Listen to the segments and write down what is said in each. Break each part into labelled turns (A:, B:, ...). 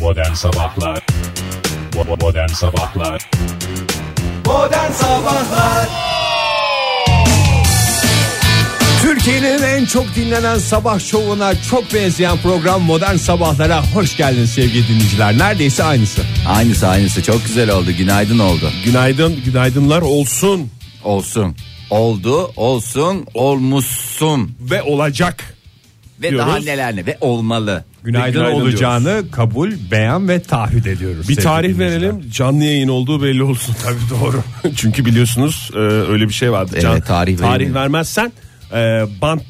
A: Modern Sabahlar Bo- Modern Sabahlar
B: Modern Sabahlar Türkiye'nin en çok dinlenen sabah şovuna çok benzeyen program Modern Sabahlara hoş geldiniz sevgili dinleyiciler. Neredeyse aynısı.
C: Aynısı aynısı çok güzel oldu günaydın oldu
D: Günaydın, günaydınlar olsun
C: olsun oldu olsun olmuşsun
D: ve olacak.
C: ve
D: Diyoruz.
C: daha neler ne ve olmalı
D: Günaydın
B: Günaydın, olacağını kabul, beğen ve taahhüt ediyoruz.
D: Bir
B: sevgili
D: tarih
B: dinleyiciler.
D: verelim canlı yayın olduğu belli olsun tabii doğru. Çünkü biliyorsunuz e, öyle bir şey vardı.
C: Evet,
D: Can-
C: tarih verelim.
D: vermezsen e, bant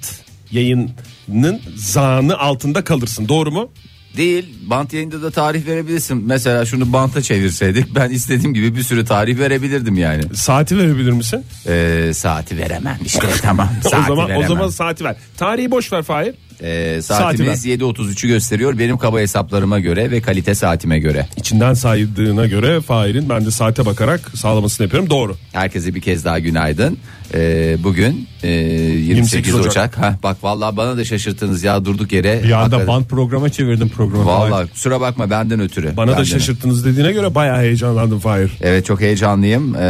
D: yayının zanı altında kalırsın doğru mu?
C: değil bant yayında da tarih verebilirsin mesela şunu banta çevirseydik ben istediğim gibi bir sürü tarih verebilirdim yani
D: Saati verebilir misin?
C: Ee, saati veremem işte tamam
D: o
C: saati
D: zaman
C: veremem.
D: o zaman saati ver. Tarihi boş ver Fahir.
C: Ee, saatimiz 7.33'ü gösteriyor benim kaba hesaplarıma göre ve kalite saatime göre
D: İçinden saydığına göre Fahir'in ben de saate bakarak sağlamasını yapıyorum doğru.
C: Herkese bir kez daha günaydın. Ee, bugün e, 28,
D: 28
C: Ocak.
D: Ocak.
C: Ha, bak vallahi bana da şaşırttınız ya durduk yere.
B: Bir
C: Hakikaten-
B: anda band programa çevirdim programı.
C: Vallahi kusura bakma benden ötürü.
D: Bana
C: Benden
D: da şaşırttınız dediğine göre bayağı heyecanlandım Fahir.
C: ötürü. Evet çok heyecanlıyım. Ee,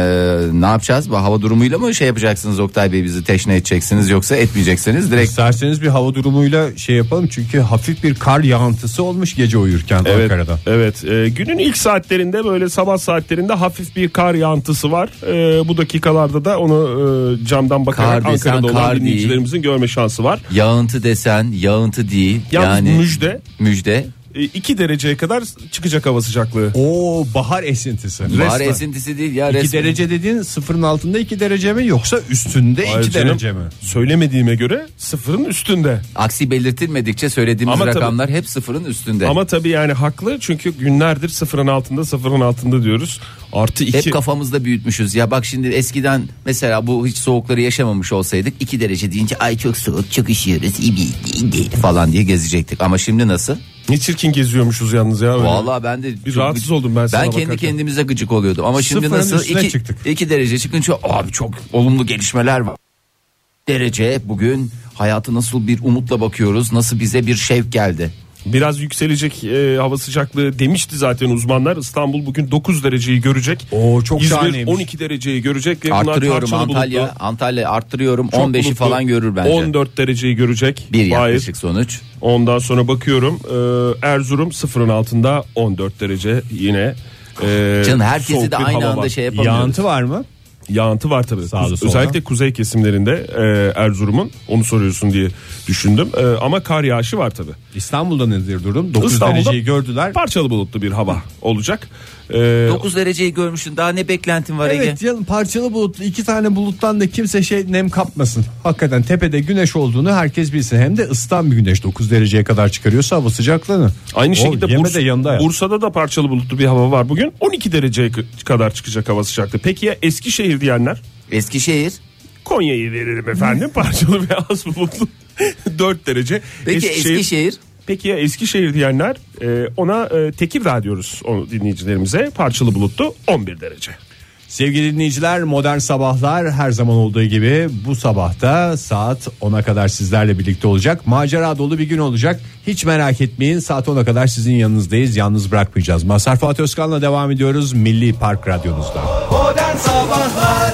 C: ne yapacağız? Bu hava durumuyla mı şey yapacaksınız Oktay Bey bizi teşne edeceksiniz yoksa etmeyeceksiniz direkt.
B: İsterseniz bir hava durumuyla şey yapalım çünkü hafif bir kar yağıntısı olmuş gece uyurken
D: Evet,
B: Ankara'da.
D: evet. Ee, günün ilk saatlerinde böyle sabah saatlerinde hafif bir kar yantısı var. Ee, bu dakikalarda da onu e, camdan bakarak
C: Kar desen
D: Ankara'da
C: kar
D: olan dinleyicilerimizin görme şansı var.
C: Yağıntı desen yağıntı değil.
D: Yalnız
C: yani
D: müjde
C: müjde.
D: 2 dereceye kadar çıkacak hava sıcaklığı.
B: Oo bahar esintisi.
C: Var esintisi değil ya
B: 2
C: resmen.
B: derece dediğin sıfırın altında 2 derece mi yoksa üstünde
D: Hayır
B: 2
D: canım,
B: derece mi?
D: Söylemediğime göre sıfırın üstünde.
C: Aksi belirtilmedikçe söylediğimiz
D: Ama tabii-
C: rakamlar hep sıfırın üstünde.
D: Ama tabii yani haklı çünkü günlerdir sıfırın altında sıfırın altında diyoruz. Artı
C: Hep
D: 2
C: kafamızda büyütmüşüz ya bak şimdi eskiden mesela bu hiç soğukları yaşamamış olsaydık 2 derece deyince ay çok soğuk çok üşüyoruz iyi, iyi, iyi" falan diye gezecektik ama şimdi nasıl?
D: ne çirkin geziyormuşuz yalnız ya. öyle.
C: Vallahi ben de
D: Bir
C: çok
D: rahatsız
C: gıcık-
D: oldum ben sana
C: Ben kendi
D: bakarken.
C: kendimize gıcık oluyordum ama şimdi
B: Sıfırın
C: nasıl
B: üstüne
C: 2
B: çıktık.
C: 2 derece çıkınca abi çok olumlu gelişmeler var. Derece bugün hayatı nasıl bir umutla bakıyoruz nasıl bize bir şevk geldi.
D: Biraz yükselecek e, hava sıcaklığı demişti zaten uzmanlar. İstanbul bugün 9 dereceyi görecek.
B: Oo, çok
D: İzmir
B: şahaneymiş.
D: 12 dereceyi görecek. ve bunlar
C: Arttırıyorum
D: parçalı
C: Antalya
D: bulutlu.
C: Antalya arttırıyorum
D: Çok
C: 15'i
D: bulutlu.
C: falan görür bence.
D: 14 dereceyi görecek.
C: bir
D: Faiz.
C: yaklaşık sonuç.
D: Ondan sonra bakıyorum e, Erzurum sıfırın altında 14 derece yine. E,
C: Canım herkesi
D: soğuk
C: de
D: bir
C: aynı
D: hava
C: anda
D: var.
C: şey yapamıyoruz.
B: Yağıntı var mı?
D: Yağıntı var tabii.
B: Sağda solda.
D: Özellikle kuzey kesimlerinde e, Erzurum'un onu soruyorsun diye düşündüm. E, ama kar yağışı var tabii.
B: İstanbul'da nedir durum? 9
D: İstanbul'da
B: dereceyi gördüler.
D: Parçalı bulutlu bir hava olacak. E,
C: 9 dereceyi görmüştün daha ne beklentin var Ege?
B: Evet canım parçalı bulutlu iki tane buluttan da kimse şey nem kapmasın. Hakikaten tepede güneş olduğunu herkes bilsin. Hem de ıslan bir güneş 9 dereceye kadar çıkarıyorsa hava sıcaklığını.
D: Aynı şekilde
B: yeme
D: Bursa-
B: de yanında ya.
D: Bursa'da da parçalı bulutlu bir hava var bugün. 12 dereceye k- kadar çıkacak hava sıcaklığı. Peki ya Eskişehir diyenler?
C: Eskişehir.
D: Konya'yı verelim efendim. parçalı ve az bulutlu 4 derece.
C: Peki Eskişehir.
D: Peki ya Eskişehir diyenler? Ee, ona e, Tekirdağ diyoruz o dinleyicilerimize. Parçalı bulutlu 11 derece.
B: Sevgili dinleyiciler modern sabahlar her zaman olduğu gibi bu sabahta saat 10'a kadar sizlerle birlikte olacak. Macera dolu bir gün olacak. Hiç merak etmeyin saat 10'a kadar sizin yanınızdayız. Yalnız bırakmayacağız. Mazhar Fatih Özkan'la devam ediyoruz Milli Park Radyonuzda.
E: Modern Sabahlar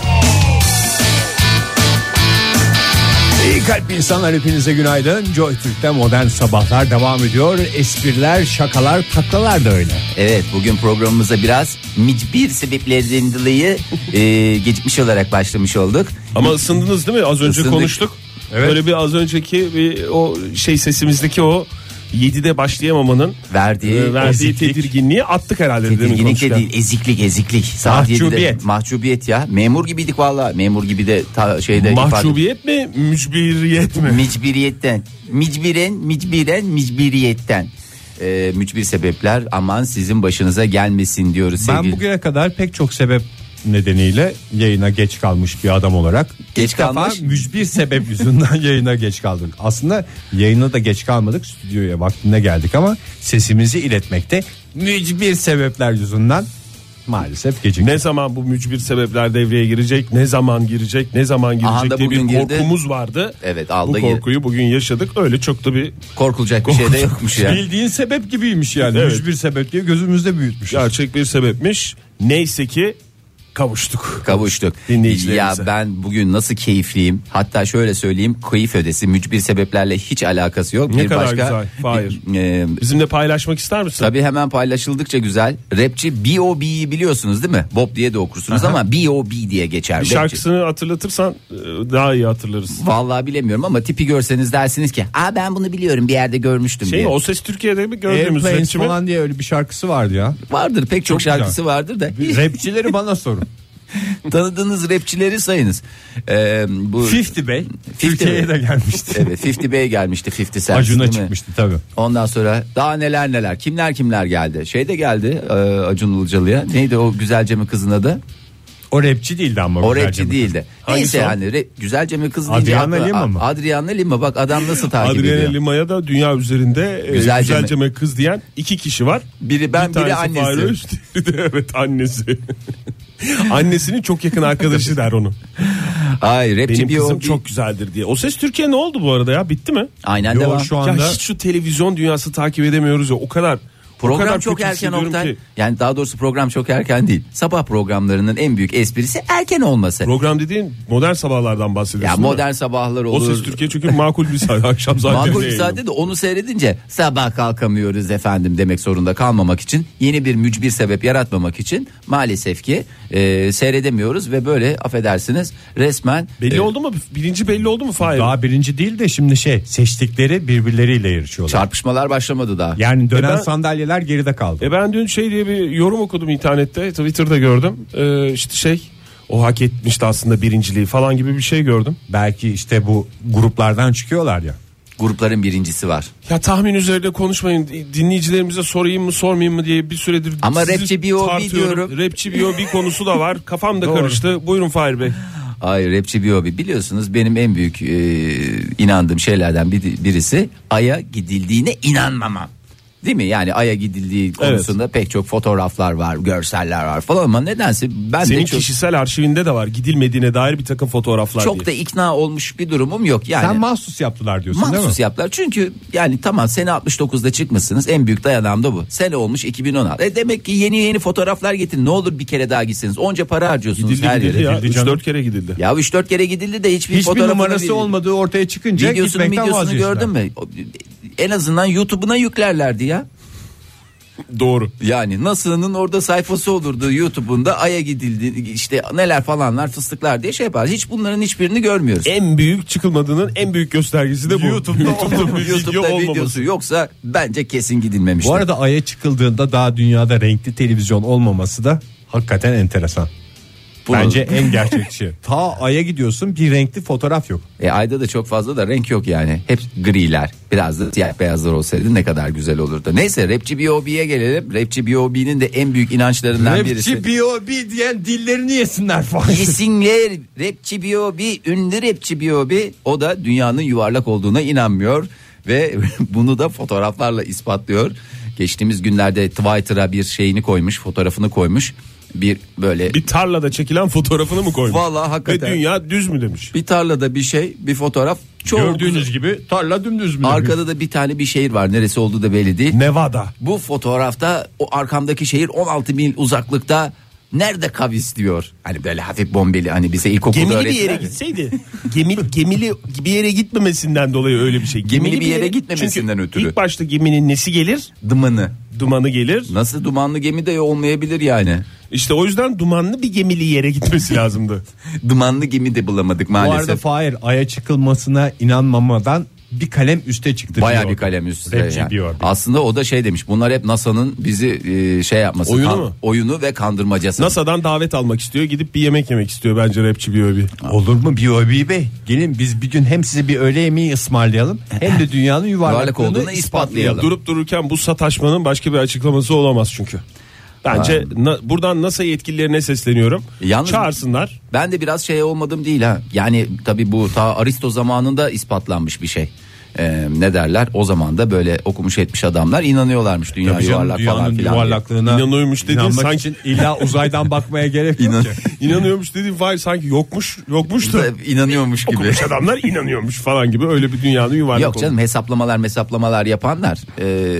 B: İyi kalp insanlar hepinize günaydın. Joy Türk'te modern sabahlar devam ediyor. Espriler, şakalar, taklalar da öyle.
C: Evet bugün programımıza biraz micbir sebeplerden dolayı e, gecikmiş olarak başlamış olduk.
D: Ama ısındınız değil mi? Az önce
C: Isındık.
D: konuştuk.
B: Evet.
D: Böyle bir az önceki bir o şey sesimizdeki o 7'de başlayamamanın
C: Verdiği
D: e, verdiği
B: eziklik.
D: tedirginliği attık herhalde. demin
C: Tedirginlik de
D: konuşurken.
C: değil eziklik eziklik. Saat yedide-
B: Mahcubiyet.
C: mahcubiyet ya. Memur gibiydik valla. Memur gibi de ta, şeyde ifade-
D: Mahcubiyet mi, mücbiriyet mi?
C: Micbiriyetten. Micbiren, micbiren, micbiriyetten. E, mücbir sebepler aman sizin başınıza gelmesin diyoruz
B: Ben
C: sevgili
B: bugüne kadar pek çok sebep nedeniyle yayına geç kalmış bir adam olarak
C: Geç
B: ilk defa
C: kalmış.
B: mücbir sebep yüzünden yayına geç kaldık. Aslında yayına da geç kalmadık. Stüdyoya vaktinde geldik ama sesimizi iletmekte mücbir sebepler yüzünden maalesef gecikti.
D: Ne zaman bu mücbir sebepler devreye girecek? Ne zaman girecek? Ne zaman girecek
C: Aha da
D: diye bir
C: bugün girdi.
D: korkumuz vardı.
C: Evet, aldı
D: Bu
C: gir-
D: korkuyu bugün yaşadık. Öyle çok da bir
C: Korkulacak bir şey de yokmuş ya.
B: Bildiğin sebep gibiymiş yani.
D: Evet.
B: Hiçbir sebep diye gözümüzde büyütmüş.
D: gerçek bir sebepmiş. Neyse ki kavuştuk.
C: Kavuştuk. Ya
D: şey. Dinleyicilerimize.
C: ben bugün nasıl keyifliyim. Hatta şöyle söyleyeyim. Keyif ödesi mücbir sebeplerle hiç alakası yok.
D: Ne kadar
C: başka,
D: güzel, Fahir.
C: E,
D: Bizimle paylaşmak ister misin?
C: Tabii hemen paylaşıldıkça güzel. Rapçi B.O.B'yi biliyorsunuz değil mi? Bob diye de okursunuz ama B.O.B diye geçer.
D: Bir
C: rapçi.
D: şarkısını hatırlatırsan e, daha iyi hatırlarız.
C: Vallahi bilemiyorum ama tipi görseniz dersiniz ki Aa ben bunu biliyorum bir yerde görmüştüm
D: Şey
C: diye.
D: mi, o ses Türkiye'de mi gördüğümüz
B: Airplanes
D: rapçi mi?
B: falan diye öyle bir şarkısı vardı ya.
C: Vardır pek çok,
B: güzel.
C: şarkısı vardır da hiç
B: Rapçileri bana sorun.
C: tanıdığınız rapçileri sayınız. Ee, bu
B: Fifty Bey
C: Bey.
B: Türkiye'ye de gelmişti.
C: Evet 50 Bey gelmişti 50 Cent.
B: Acun'a
C: değil mi?
B: çıkmıştı tabii.
C: Ondan sonra daha neler neler kimler kimler geldi. Şey de geldi e, Acun Ilıcalı'ya. Neydi o güzelcemin kızın adı?
B: O rapçi değildi ama.
C: O
B: güzelce
C: rapçi
B: bu.
C: değildi. Neyse yani rap, güzelcemin kızı deyince
B: Adriana
C: akla-
B: Lima mı?
C: Adriana Lima bak adam nasıl takip
D: Adriana
C: ediyor.
D: Lima'ya da dünya üzerinde e,
C: Güzelceme.
D: güzelceme kız diyen iki kişi var.
C: Biri ben, biri
D: tanesi
C: annesi.
D: Fahri Öz, diğeri de evet annesi. Annesinin çok yakın arkadaşı der onu.
C: Ay rapçi
D: Benim
C: bir
D: kızım
C: o- bir-
D: çok güzeldir diye. O ses Türkiye ne oldu bu arada ya? Bitti mi?
C: Aynen
B: Yo,
C: devam.
B: şu anda-
D: Ya hiç şu televizyon dünyası takip edemiyoruz ya. O kadar o
C: Program
D: kadar
C: çok
D: kötü
C: erken
D: hissediyorum
C: Oktay.
D: ki.
C: Yani daha doğrusu program çok erken değil. Sabah programlarının en büyük esprisi erken olması.
D: Program dediğin modern sabahlardan
C: ya
D: bahsediyorsun. değil mi?
C: modern sabahlar
D: O
C: olur.
D: ses Türkiye çünkü makul bir saat akşam saatlerinde.
C: Makul bir
D: yayınlanıyor.
C: saatte de onu seyredince sabah kalkamıyoruz efendim demek zorunda kalmamak için yeni bir mücbir sebep yaratmamak için maalesef ki e, seyredemiyoruz ve böyle affedersiniz resmen
D: Belli
C: e,
D: oldu mu? Birinci belli oldu mu Fahir?
B: Daha birinci değil de şimdi şey seçtikleri birbirleriyle yarışıyorlar.
C: çarpışmalar başlamadı daha.
B: yani dönen
D: E ben-
B: sandalyeler geride kaldı.
D: E ben dün şey diye bir yorum okudum internette Twitter'da gördüm ee, işte şey o hak etmişti aslında birinciliği falan gibi bir şey gördüm.
B: Belki işte bu gruplardan çıkıyorlar ya.
C: Grupların birincisi var.
D: Ya tahmin üzerine konuşmayın dinleyicilerimize sorayım mı sormayayım mı diye bir süredir
C: Ama
D: sizi
C: rapçi B.O.B.
D: tartıyorum.
C: diyorum.
D: Rapçi B.O.B. konusu da var kafam da karıştı buyurun Fahir Bey.
C: Ay rapçi bir hobi biliyorsunuz benim en büyük e, inandığım şeylerden bir, birisi aya gidildiğine inanmamam. Değil mi? Yani aya gidildiği konusunda pek çok fotoğraflar var, görseller var falan ama nedense ben
D: Senin
C: de çok,
D: kişisel arşivinde de var gidilmediğine dair bir takım fotoğraflar
C: çok da
D: diye.
C: ikna olmuş bir durumum yok. Yani
B: Sen mahsus yaptılar diyorsun değil mi?
C: mahsus yaptılar. Çünkü yani tamam sene 69'da çıkmışsınız. En büyük dayanağım da bu. Sene olmuş 2016. E demek ki yeni yeni fotoğraflar getirin. Ne olur bir kere daha gitsiniz. Onca para harcıyorsunuz
D: Gidildi
C: her
D: gidildi
C: yere.
D: ya
B: Gidildi canım.
D: 3-4 kere gidildi.
C: Ya 3-4 kere gidildi de hiçbir,
B: Hiçbir
C: fotoğrafını
B: numarası
C: bir-
B: olmadığı ortaya çıkınca
C: Videosunu
B: gitmekten
C: videosunu
B: vazgeçtiler.
C: gördün mü? En azından YouTube'una yüklerlerdi ya.
D: Doğru.
C: Yani NASA'nın orada sayfası olurdu YouTube'unda Ay'a gidildi işte neler falanlar fıstıklar diye şey yapar. Hiç bunların hiçbirini görmüyoruz.
D: En büyük çıkılmadığının en büyük göstergesi de bu.
B: YouTube'da
D: YouTube'da bir video
C: YouTube'da
D: olmaması.
C: videosu yoksa bence kesin gidilmemiştir.
B: Bu arada Ay'a çıkıldığında daha dünyada renkli televizyon olmaması da hakikaten enteresan.
C: Bunu-
B: Bence en gerçekçi. Ta Ay'a gidiyorsun bir renkli fotoğraf yok.
C: E, ayda da çok fazla da renk yok yani. Hep griler. Biraz da siyah beyazlar olsaydı ne kadar güzel olurdu. Neyse rapçi B.O.B'ye gelelim. Rapçi B.O.B'nin de en büyük inançlarından birisi.
B: Rapçi B.O.B diyen dillerini yesinler falan.
C: Yesinler rapçi B.O.B ünlü rapçi B.O.B o da dünyanın yuvarlak olduğuna inanmıyor ve bunu da fotoğraflarla ispatlıyor. Geçtiğimiz günlerde Twitter'a bir şeyini koymuş fotoğrafını koymuş bir böyle bir,
D: Bir tarlada çekilen fotoğrafını mı koymuş?
C: Vallahi hakikaten.
D: Ve dünya düz mü demiş.
C: tarlada bir şey bir fotoğraf çok
B: Gördüğünüz gibi tarla dümdüz mü?
C: arkada da bir tane bir şehir var neresi olduğu da belli değil.
D: Nevada.
C: Bu fotoğrafta o arkamdaki şehir 16 mil uzaklıkta nerede kavis diyor. Hani böyle hafif bombeli hani bize ilkokulda
D: Gemili bir
C: öğrettiler
D: yere
C: ya.
D: gitseydi. Gemili, gemili bir yere gitmemesinden dolayı öyle bir şey.
C: Gemili bir yere gitmemesinden
D: çünkü
C: ötürü.
D: ilk başta geminin nesi gelir?
C: Dımanı.
D: Dumanı gelir.
C: Nasıl dumanlı gemi de olmayabilir yani.
D: İşte o yüzden dumanlı bir gemili yere gitmesi lazımdı.
C: Dumanlı gemi de bulamadık
B: Bu arada
C: maalesef.
B: Fahir Ay'a çıkılmasına inanmamadan bir kalem üste çıktı.
C: Bayağı
B: diyor.
C: bir kalem üstüne.
B: Rapçi
C: yani.
B: diyor.
C: Aslında o da şey demiş. Bunlar hep NASA'nın bizi e, şey yapması.
D: Oyunu mu?
C: oyunu ve kandırmacası.
D: NASA'dan davet almak istiyor. Gidip bir yemek yemek istiyor bence rapçi bir öbi.
B: Olur mu B.O.B bey? Gelin biz bir gün hem size bir öğle yemeği ısmarlayalım hem de dünyanın yuvarlak
C: Yuvarlak olduğunu
B: olduğunu
C: ispatlayalım.
B: ispatlayalım.
D: Durup dururken bu sataşmanın başka bir açıklaması olamaz çünkü. Bence na- buradan NASA yetkililerine sesleniyorum.
C: Yalnız-
D: Çağırsınlar.
C: Ben de biraz şey olmadım değil ha. Yani tabii bu ta Aristo zamanında ispatlanmış bir şey. e, ne derler o zaman da böyle okumuş etmiş adamlar inanıyorlarmış dünya
B: Tabii canım,
C: yuvarlak
B: dünyanın
C: falan filan.
B: yuvarlaklığına
D: İnanıyormuş dediğin
B: inanmak
D: sanki-
B: için illa uzaydan bakmaya gerek yok
C: İnan,
B: ki.
D: İnanıyormuş dediğim vay sanki yokmuş yokmuş da
C: inanıyormuş gibi.
D: okumuş adamlar inanıyormuş falan gibi öyle bir dünyanın yuvarlak
C: Yok canım hesaplamalar hesaplamalar yapanlar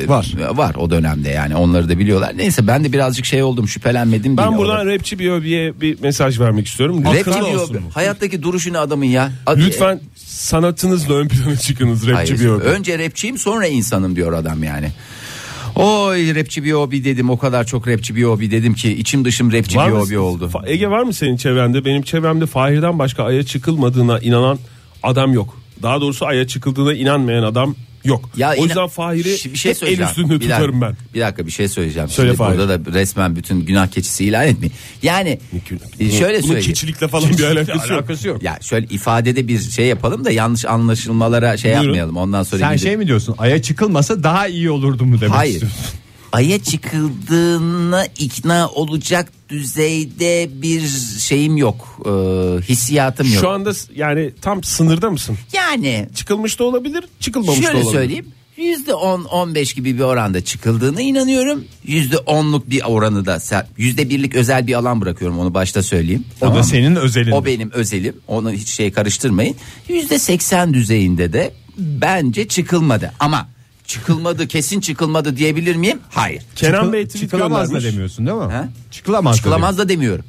C: e,
B: Var.
C: var o dönemde yani onları da biliyorlar. Neyse ben de birazcık şey oldum şüphelenmedim.
D: Ben
C: bile
D: buradan
C: orada.
D: rapçi Biyobi'ye bir mesaj vermek istiyorum.
C: Rap
D: Lütfen-
C: diyor, hayattaki duruşunu adamın ya. Hadi-
D: Lütfen sanatınızla ön plana çıkınız rapçi
C: Hayır,
D: Biyobi.
C: önce rapçiyim sonra insanım diyor adam yani. Oy rapçi bir hobi dedim o kadar çok rapçi bir hobi dedim ki içim dışım rapçi bir hobi oldu.
D: Fa- Ege var mı senin çevrende? Benim çevremde Fahir'den başka aya çıkılmadığına inanan adam yok. Daha doğrusu aya çıkıldığına inanmayan adam yok. o
C: inan-
D: yüzden Fahir'i
C: Şi-
D: hep el
C: söyleyeceğim.
D: üstünde
C: Bir dakika-
D: tutarım ben.
C: Bir dakika bir şey söyleyeceğim.
D: Söyle
C: Şimdi
D: Fahir.
C: burada da resmen bütün günah keçisi ilan etmeyin. Yani e, şöyle
D: Bunun
C: söyleyeyim.
D: keçilikle falan bir alakası yok.
B: Alakası yok.
C: Ya şöyle ifadede bir şey yapalım da yanlış anlaşılmalara şey
D: Buyurun.
C: yapmayalım. Ondan sonra
B: Sen
C: gidip-
B: şey mi diyorsun? Aya çıkılmasa daha iyi olurdu mu demek
C: Hayır.
B: istiyorsun?
C: Ay'a çıkıldığına ikna olacak düzeyde bir şeyim yok. Ee, hissiyatım yok.
D: Şu anda s- yani tam sınırda mısın?
C: yani
D: Çıkılmış da olabilir, çıkılmamış da
C: şöyle
D: olabilir.
C: söyleyeyim. Yüzde 10-15 gibi bir oranda çıkıldığına inanıyorum. Yüzde 10'luk bir oranı da sen- yüzde birlik özel bir alan bırakıyorum onu başta söyleyeyim.
B: O da
C: mı?
B: senin özelin.
C: O benim özelim. Onu hiç şey karıştırmayın. Yüzde 80 düzeyinde de bence çıkılmadı. Ama çıkılmadı kesin çıkılmadı diyebilir miyim? Hayır.
D: Kenan
B: Çıkıl-
D: Bey tweet
B: çıkılamaz da
D: göndermiş.
B: demiyorsun değil mi?
C: He?
B: Çıkılamaz. da
C: Çıkılamaz da demiyorum.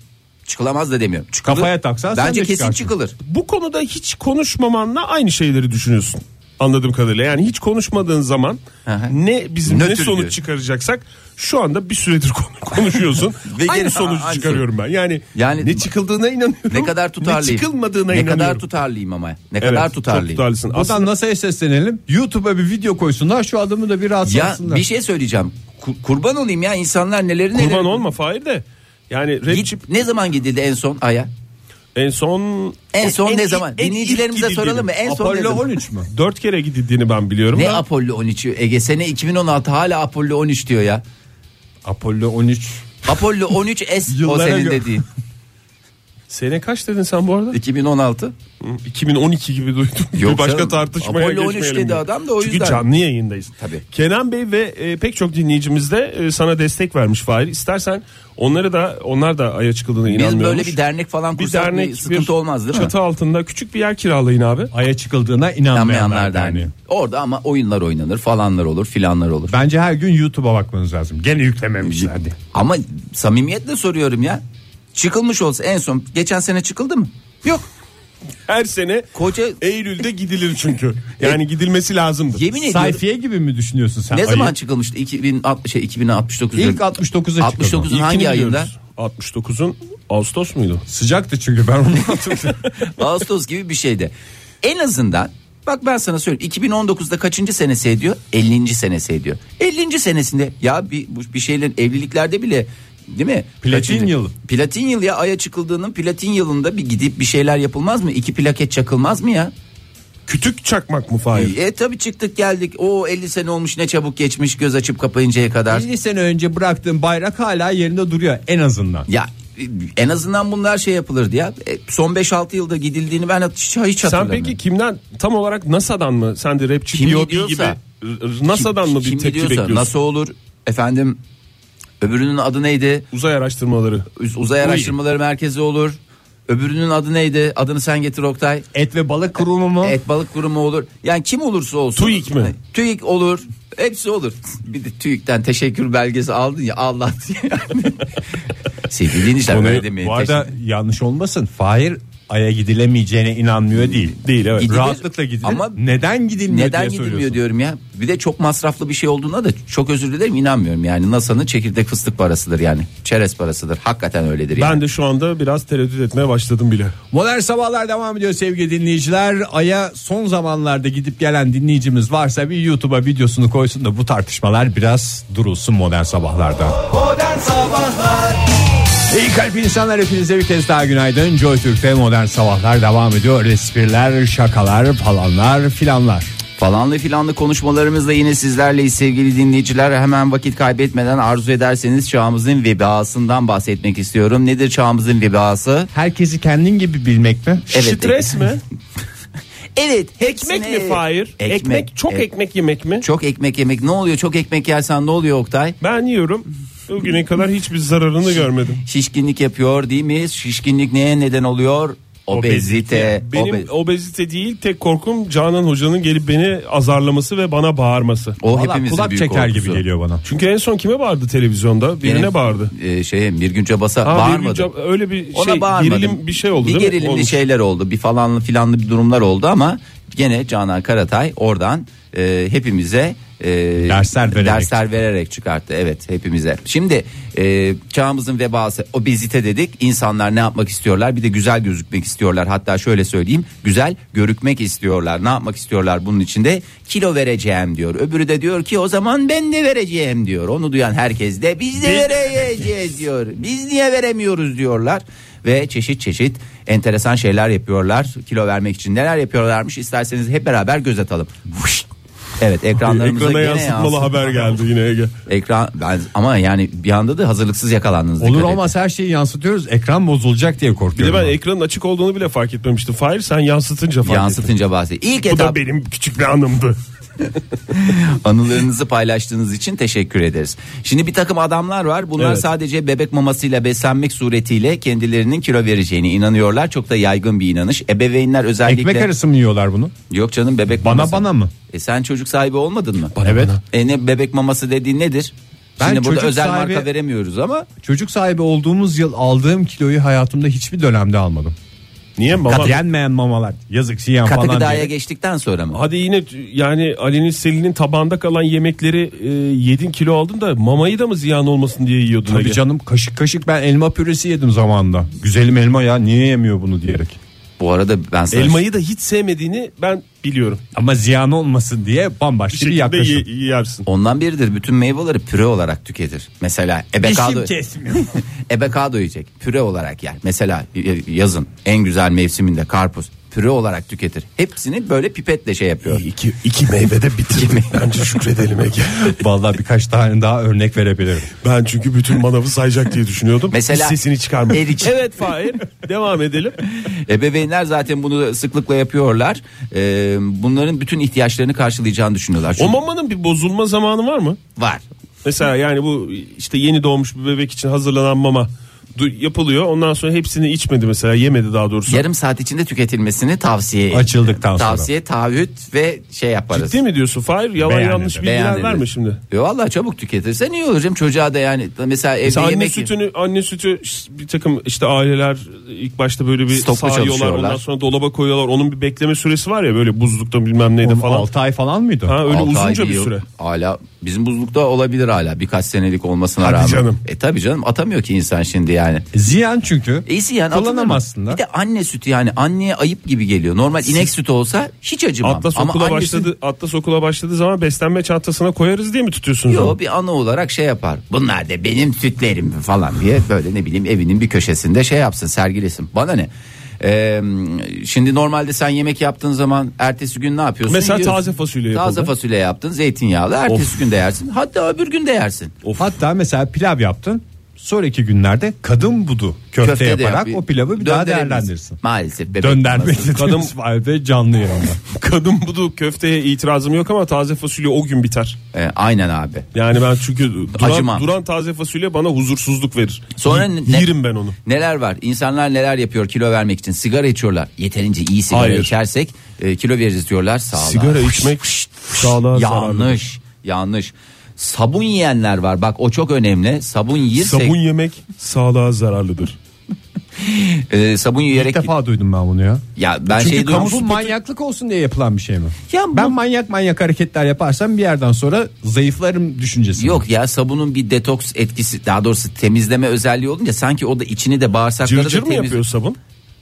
C: Çıkılamaz da demiyorum. Çıkılır.
B: Kafaya taksan sen
C: Bence
B: de
C: kesin
B: çıkarsın.
C: çıkılır.
D: Bu konuda hiç konuşmamanla aynı şeyleri düşünüyorsun. Anladığım kadarıyla yani hiç konuşmadığın zaman
C: Aha.
D: ne bizim ne
C: Nötr
D: sonuç
C: diyor.
D: çıkaracaksak şu anda bir süredir konu- konuşuyorsun.
C: Ve gene-
D: aynı sonucu
C: aynı
D: çıkarıyorum ben. Yani,
C: Yani-
D: ne çıkıldığına inanıyorum.
C: Ne kadar tutarlıyım.
D: Ne çıkılmadığına
C: ne
D: inanıyorum.
C: kadar tutarlıyım ama. Ne
D: Evet,
C: kadar
D: çok
C: tutarlıyım.
D: tutarlısın.
B: Buradan
D: Aslında
B: NASA'ya seslenelim. YouTube'a bir video koysunlar şu adamı da bir rahatsız
C: Ya
B: etsinler.
C: bir şey söyleyeceğim. Ku- kurban olayım ya insanlar neleri neleri.
D: kurban olma Fahir de. Yani
C: Git-
D: rapçi
C: ne zaman gidildi en son aya?
D: en son
C: En son ne
D: ilk-
C: zaman?
D: en ilk
C: Dinleyicilerimize
D: gidildiğini,
C: soralım mı? En son ne
B: Apollo
C: zaman?
B: 13 mü?
D: Dört kere gidildiğini ben biliyorum.
C: Ne
D: Ben-
C: Apollo 13'ü? Ege sene 2016 hala Apollo 13 diyor ya.
B: Apollo 13.
C: Apollo 13S o
B: Yıllara
C: senin
B: gö-
C: dediğin.
D: Sene kaç dedin sen bu arada?
C: 2016.
D: 2012 gibi duydum.
C: Yok
D: bir başka
C: canım.
D: tartışmaya
C: Apollo 13
D: geçmeyelim
C: dedi
D: bunu.
C: adam da o
D: Çünkü
C: yüzden.
D: canlı yayındayız.
C: Tabii.
D: Kenan Bey ve e, pek çok dinleyicimiz de e, sana destek vermiş Fahir. İstersen onları da onlar da aya çıkıldığına
C: Biz
D: inanmıyormuş.
C: böyle bir dernek falan
D: Bir
C: kursak bir
D: dernek,
C: sıkıntı
D: bir
C: olmaz değil mi?
D: Çatı altında küçük bir yer kiralayın abi.
B: Ay'a çıkıldığına
C: İnanmayanlar
B: inanmayanlar
C: derneği.
B: derneği.
C: Orada ama oyunlar oynanır falanlar olur filanlar olur.
B: Bence her gün YouTube'a bakmanız lazım. Gene yüklememişlerdi.
C: Ama samimiyetle soruyorum ya. Çıkılmış olsa en son geçen sene çıkıldı mı? Yok.
D: Her sene
C: Koca
D: Eylül'de gidilir çünkü. Yani gidilmesi lazımdır.
C: yemin ediyorum.
B: Sayfiye gibi mi düşünüyorsun sen?
C: ne zaman
B: Ay'ı?
C: çıkılmıştı? 2060 şey 2069.
B: İlk 69'a 69.
C: 69'un
B: çıkıldı.
C: hangi
D: İlkini
C: ayında?
D: biliyoruz. 69'un Ağustos muydu?
B: Sıcaktı çünkü ben onu hatırlıyorum.
C: Ağustos gibi bir şeydi. En azından bak ben sana söyleyeyim 2019'da kaçıncı senesi ediyor? 50. senesi ediyor. 50. senesinde ya bir bu- bir şeylerin evliliklerde bile değil mi?
B: Platin yılı.
C: Platin yıl ya aya çıkıldığının platin yılında bir gidip bir şeyler yapılmaz mı? İki plaket çakılmaz mı ya?
D: Kütük çakmak mı Fahir?
C: E tabi çıktık geldik. O 50 sene olmuş ne çabuk geçmiş göz açıp kapayıncaya kadar.
B: 50 sene önce bıraktığın bayrak hala yerinde duruyor en azından.
C: Ya e, en azından bunlar şey yapılırdı ya. E, Son 5-6 yılda gidildiğini ben hiç, hiç
D: Sen
C: hatırlamıyorum.
D: peki kimden tam olarak NASA'dan mı? Sen de rapçi
C: Kim
D: B.O.B. gibi
C: gidiyorsa-
D: r- NASA'dan mı bir
C: Kim
D: tepki
C: biliyorsa,
D: bekliyorsun?
C: Nasıl olur efendim öbürünün adı neydi?
D: Uzay araştırmaları.
C: Uz- Uzay Araştırmaları Merkezi olur. Öbürünün adı neydi? Adını sen getir Oktay.
B: Et ve balık kurumu mu?
C: Et balık kurumu olur. Yani kim olursa olsun.
D: TÜİK mi?
C: TÜİK olur. Hepsi olur. Bir de TÜİK'ten teşekkür belgesi aldın ya Allah diye. Sevgili dinleyiciler böyle demeyin.
B: Bu arada yanlış olmasın. Fahir Ay'a gidilemeyeceğine inanmıyor değil.
D: Değil evet.
C: Gidilir.
B: Rahatlıkla gidilir.
C: Ama
B: neden gidilmiyor
C: Neden
B: diye
C: gidilmiyor
B: soruyorsun.
C: diyorum ya. Bir de çok masraflı bir şey olduğuna da çok özür dilerim inanmıyorum. Yani NASA'nın çekirdek fıstık parasıdır yani. Çerez parasıdır. Hakikaten öyledir yani.
D: Ben de şu anda biraz tereddüt etmeye başladım bile.
B: Modern Sabahlar devam ediyor sevgili dinleyiciler. Ay'a son zamanlarda gidip gelen dinleyicimiz varsa bir YouTube'a videosunu koysun da bu tartışmalar biraz durulsun Modern Sabahlar'da.
E: Modern Sabahlar
B: İyi kalp insanlar hepinize bir kez daha günaydın. Joy Türk'te modern sabahlar devam ediyor. Espriler, şakalar, falanlar, filanlar.
C: Falanlı filanlı konuşmalarımızla yine sizlerleyiz sevgili dinleyiciler. Hemen vakit kaybetmeden arzu ederseniz çağımızın vebasından bahsetmek istiyorum. Nedir çağımızın vebası?
B: Herkesi kendin gibi bilmek mi?
C: Evet.
D: Stres mi?
C: Evet.
D: Ekmek
C: hepsine
D: mi Fahir? Ekmek, çok
C: Ek-
D: ekmek yemek mi?
C: Çok ekmek yemek ne oluyor? Çok ekmek yersen ne oluyor Oktay?
D: Ben yiyorum. Bugüne kadar hiçbir zararını görmedim.
C: Şişkinlik yapıyor değil mi? Şişkinlik neye neden oluyor? Obezite.
D: Benim
C: Obe-
D: obezite değil tek korkum Canan Hoca'nın gelip beni azarlaması ve bana bağırması.
C: o
B: Valla
C: hepimizin
B: kulak
C: büyük
B: çeker
C: korkusu.
B: gibi geliyor bana.
D: Çünkü en son kime bağırdı televizyonda? Birine
C: Benim,
D: bağırdı.
C: E, şey bir günce basa
D: Ha, bir
C: bağırmadı.
D: gün ca- öyle bir
C: Ona
D: şey
C: bağırmadım.
D: gerilim bir şey oldu
C: bir
D: değil mi?
C: gerilimli
D: Olmuş.
C: şeyler oldu. Bir falanlı filanlı bir durumlar oldu ama gene Canan Karatay oradan e, hepimize e,
B: Dersler vererek.
C: dersler vererek çıkarttı. Evet hepimize. Şimdi e, çağımızın vebası obezite dedik. İnsanlar ne yapmak istiyorlar? Bir de güzel gözükmek istiyorlar. Hatta şöyle söyleyeyim. Güzel görükmek istiyorlar. Ne yapmak istiyorlar bunun içinde? Kilo vereceğim diyor. Öbürü de diyor ki o zaman ben de vereceğim diyor. Onu duyan herkes de biz de vereceğiz diyor. Biz niye veremiyoruz diyorlar ve çeşit çeşit enteresan şeyler yapıyorlar. Kilo vermek için neler yapıyorlarmış isterseniz hep beraber göz atalım. Huş! Evet ekranlarımıza
D: Ekrana
C: gene
D: yansıtmalı
C: yansıt-
D: haber geldi yine Ege.
C: Ekran ben, ama yani bir anda da hazırlıksız yakalandınız.
B: Olur
C: dikkat edin.
B: olmaz her şeyi yansıtıyoruz. Ekran bozulacak diye
D: Bir de
B: korkuyorum.
D: ben
B: ben.
D: ekranın açık olduğunu bile fark etmemiştim. Fahir sen yansıtınca fark ettim.
C: Yansıtınca bahset. İlk
D: Bu
C: etap
D: da benim küçük bir anımdı.
C: anılarınızı paylaştığınız için teşekkür ederiz. Şimdi bir takım adamlar var. Bunlar
D: Evet.
C: sadece bebek mamasıyla beslenmek suretiyle kendilerinin kilo vereceğine inanıyorlar. Çok da yaygın bir inanış. Ebeveynler özellikle...
B: Ekmek arası mı yiyorlar bunu?
C: Yok canım bebek
B: Bana
C: maması.
B: bana mı?
C: E sen çocuk sahibi olmadın mı?
B: evet.
C: E ne bebek maması dediğin nedir?
B: Ben
C: Şimdi burada
B: çocuk
C: özel
B: sahibi-
C: marka veremiyoruz ama
B: Çocuk sahibi olduğumuz yıl aldığım kiloyu hayatımda hiçbir dönemde almadım.
D: Niye mama?
B: Kat- Yenmeyen mamalar. Yazık siyan
C: katı
B: falan
C: gıdaya
B: diye.
C: geçtikten sonra mı?
D: Hadi yine t- yani Ali'nin Selin'in tabanda kalan yemekleri e, yedin kilo aldın da mamayı da mı ziyan olmasın diye yiyordun
B: Tabii
D: Ege?
B: canım kaşık kaşık ben elma püresi yedim zamanında. Güzelim elma ya niye yemiyor bunu diyerek.
C: Bu arada ben sana
D: Elmayı da hiç sevmediğini ben biliyorum.
B: Ama ziyan olmasın diye
D: Bir
C: şey
B: bambaşka bir,
D: şekilde
B: yaklaşım.
D: ye- yersin.
C: ondan biridir. Bütün meyveleri püre olarak tüketir. Mesela ebekado, ebekado yiyecek. Püre olarak yer. Mesela y- yazın en güzel mevsiminde karpuz püre olarak tüketir. Hepsini böyle pipetle şey yapıyor.
D: İki, iki meyvede bitirmek bence şükredelim Ege.
B: Vallahi birkaç tane daha örnek verebilirim.
D: Ben çünkü bütün manavı sayacak diye düşünüyordum.
C: Mesela
D: Hiç sesini çıkarmadım.
C: erik.
D: Evet Fahir devam edelim.
C: Ebeveynler zaten bunu sıklıkla yapıyorlar. Ee, bunların bütün ihtiyaçlarını karşılayacağını düşünüyorlar.
D: O
C: Çünkü
D: mamanın bir bozulma zamanı var mı?
C: var.
D: Mesela yani bu işte yeni doğmuş bir bebek için hazırlanan mama du- yapılıyor. Ondan sonra hepsini içmedi mesela yemedi daha doğrusu.
C: yarım saat içinde tüketilmesini tavsiye
B: Açıldıktan sonra.
C: tavsiye taahhüt ve şey yaparız.
D: Ciddi mi diyorsun Fahir? Yalan
B: Beyan
D: yanlış
B: eder,
D: bilgiler
C: Beyan edilir.
D: verme şimdi.
C: Yo valla E, çabuk tüketirsen iyi olur canım çocuğa da yani mesela evde
D: Mesela anne
C: yemek
D: sütünü anne sütü ş- bir takım işte aileler ilk başta böyle bir
C: Stoklu
D: sağıyorlar
C: çalışıyorlar.
D: ondan sonra dolaba koyuyorlar. Onun bir bekleme süresi var ya böyle buzlukta bilmem neydi
B: Onun
D: falan.
B: 6 ay falan mıydı?
D: Ha öyle
C: Altı ay
D: uzunca bir
C: yıl.
D: süre.
C: Hala bizim buzlukta olabilir hala birkaç senelik olmasına
D: Hadi
C: rağmen.
D: canım.
C: E tabi canım atamıyor ki insan şimdi yani.
B: Ziyan çünkü.
C: İyisi yani atılır mı?
B: Kullanamazsın da.
C: Bir de anne sütü yani anneye ayıp gibi geliyor. Normal inek sütü olsa hiç acımam.
D: Atlas
C: Ama
D: okula
C: anne
D: başladı Atlas okula başladığı zaman beslenme çantasına koyarız diye mi tutuyorsunuz? onu?
C: Yo bir ana olarak şey yapar. Bunlar da benim sütlerim falan diye böyle ne bileyim evinin bir köşesinde şey yapsın sergilesin. Bana ne? Ee, şimdi normalde sen yemek yaptığın zaman ertesi gün ne yapıyorsun?
D: Mesela taze fasulye yapıldı.
C: Taze fasulye yaptın zeytinyağlı ertesi gün de yersin. Hatta öbür gün de yersin.
B: Hatta mesela pilav yaptın. Sonraki günlerde kadın budu köfte,
C: Köfte de
B: yaparak
C: yap-
B: o pilavı bir daha
C: Dönderimiz.
B: değerlendirsin.
C: Maalesef. bebek
B: Döndermek
C: maması.
B: kadın halde canlı yayında.
D: Kadın budu köfteye itirazım yok ama taze fasulye o gün biter.
C: Ee, aynen abi.
D: Yani ben çünkü duran,
C: Acımam.
D: duran taze fasulye bana huzursuzluk verir.
C: Sonra
D: Y-
C: ne-
D: yerim ben onu.
C: Neler var? İnsanlar neler yapıyor kilo vermek için? Sigara içiyorlar. Yeterince iyi sigara
D: Hayır.
C: içersek e, kilo veririz diyorlar. Sağlığa.
D: Sigara içmek sağlığa zararlı.
C: Yanlış. Yanlış. Sabun yiyenler var. Bak o çok önemli. Sabun yiyirsek
D: Sabun
C: sabun,
D: yemek sağlığa zararlıdır.
C: e, sabun
B: İlk
C: yiyerek
B: defa duydum ben bunu ya.
C: ya ben
B: Çünkü
C: şey
B: kamu
C: diyorum.
B: bu manyaklık olsun diye yapılan bir şey mi?
C: Ya bu-
B: ben manyak manyak hareketler yaparsam bir yerden sonra zayıflarım düşüncesi.
C: Yok ya sabunun bir detoks etkisi daha doğrusu temizleme özelliği olunca sanki o da içini de bağırsakları
D: Cırcır
C: da
D: mı
C: temiz.
D: yapıyor sabun?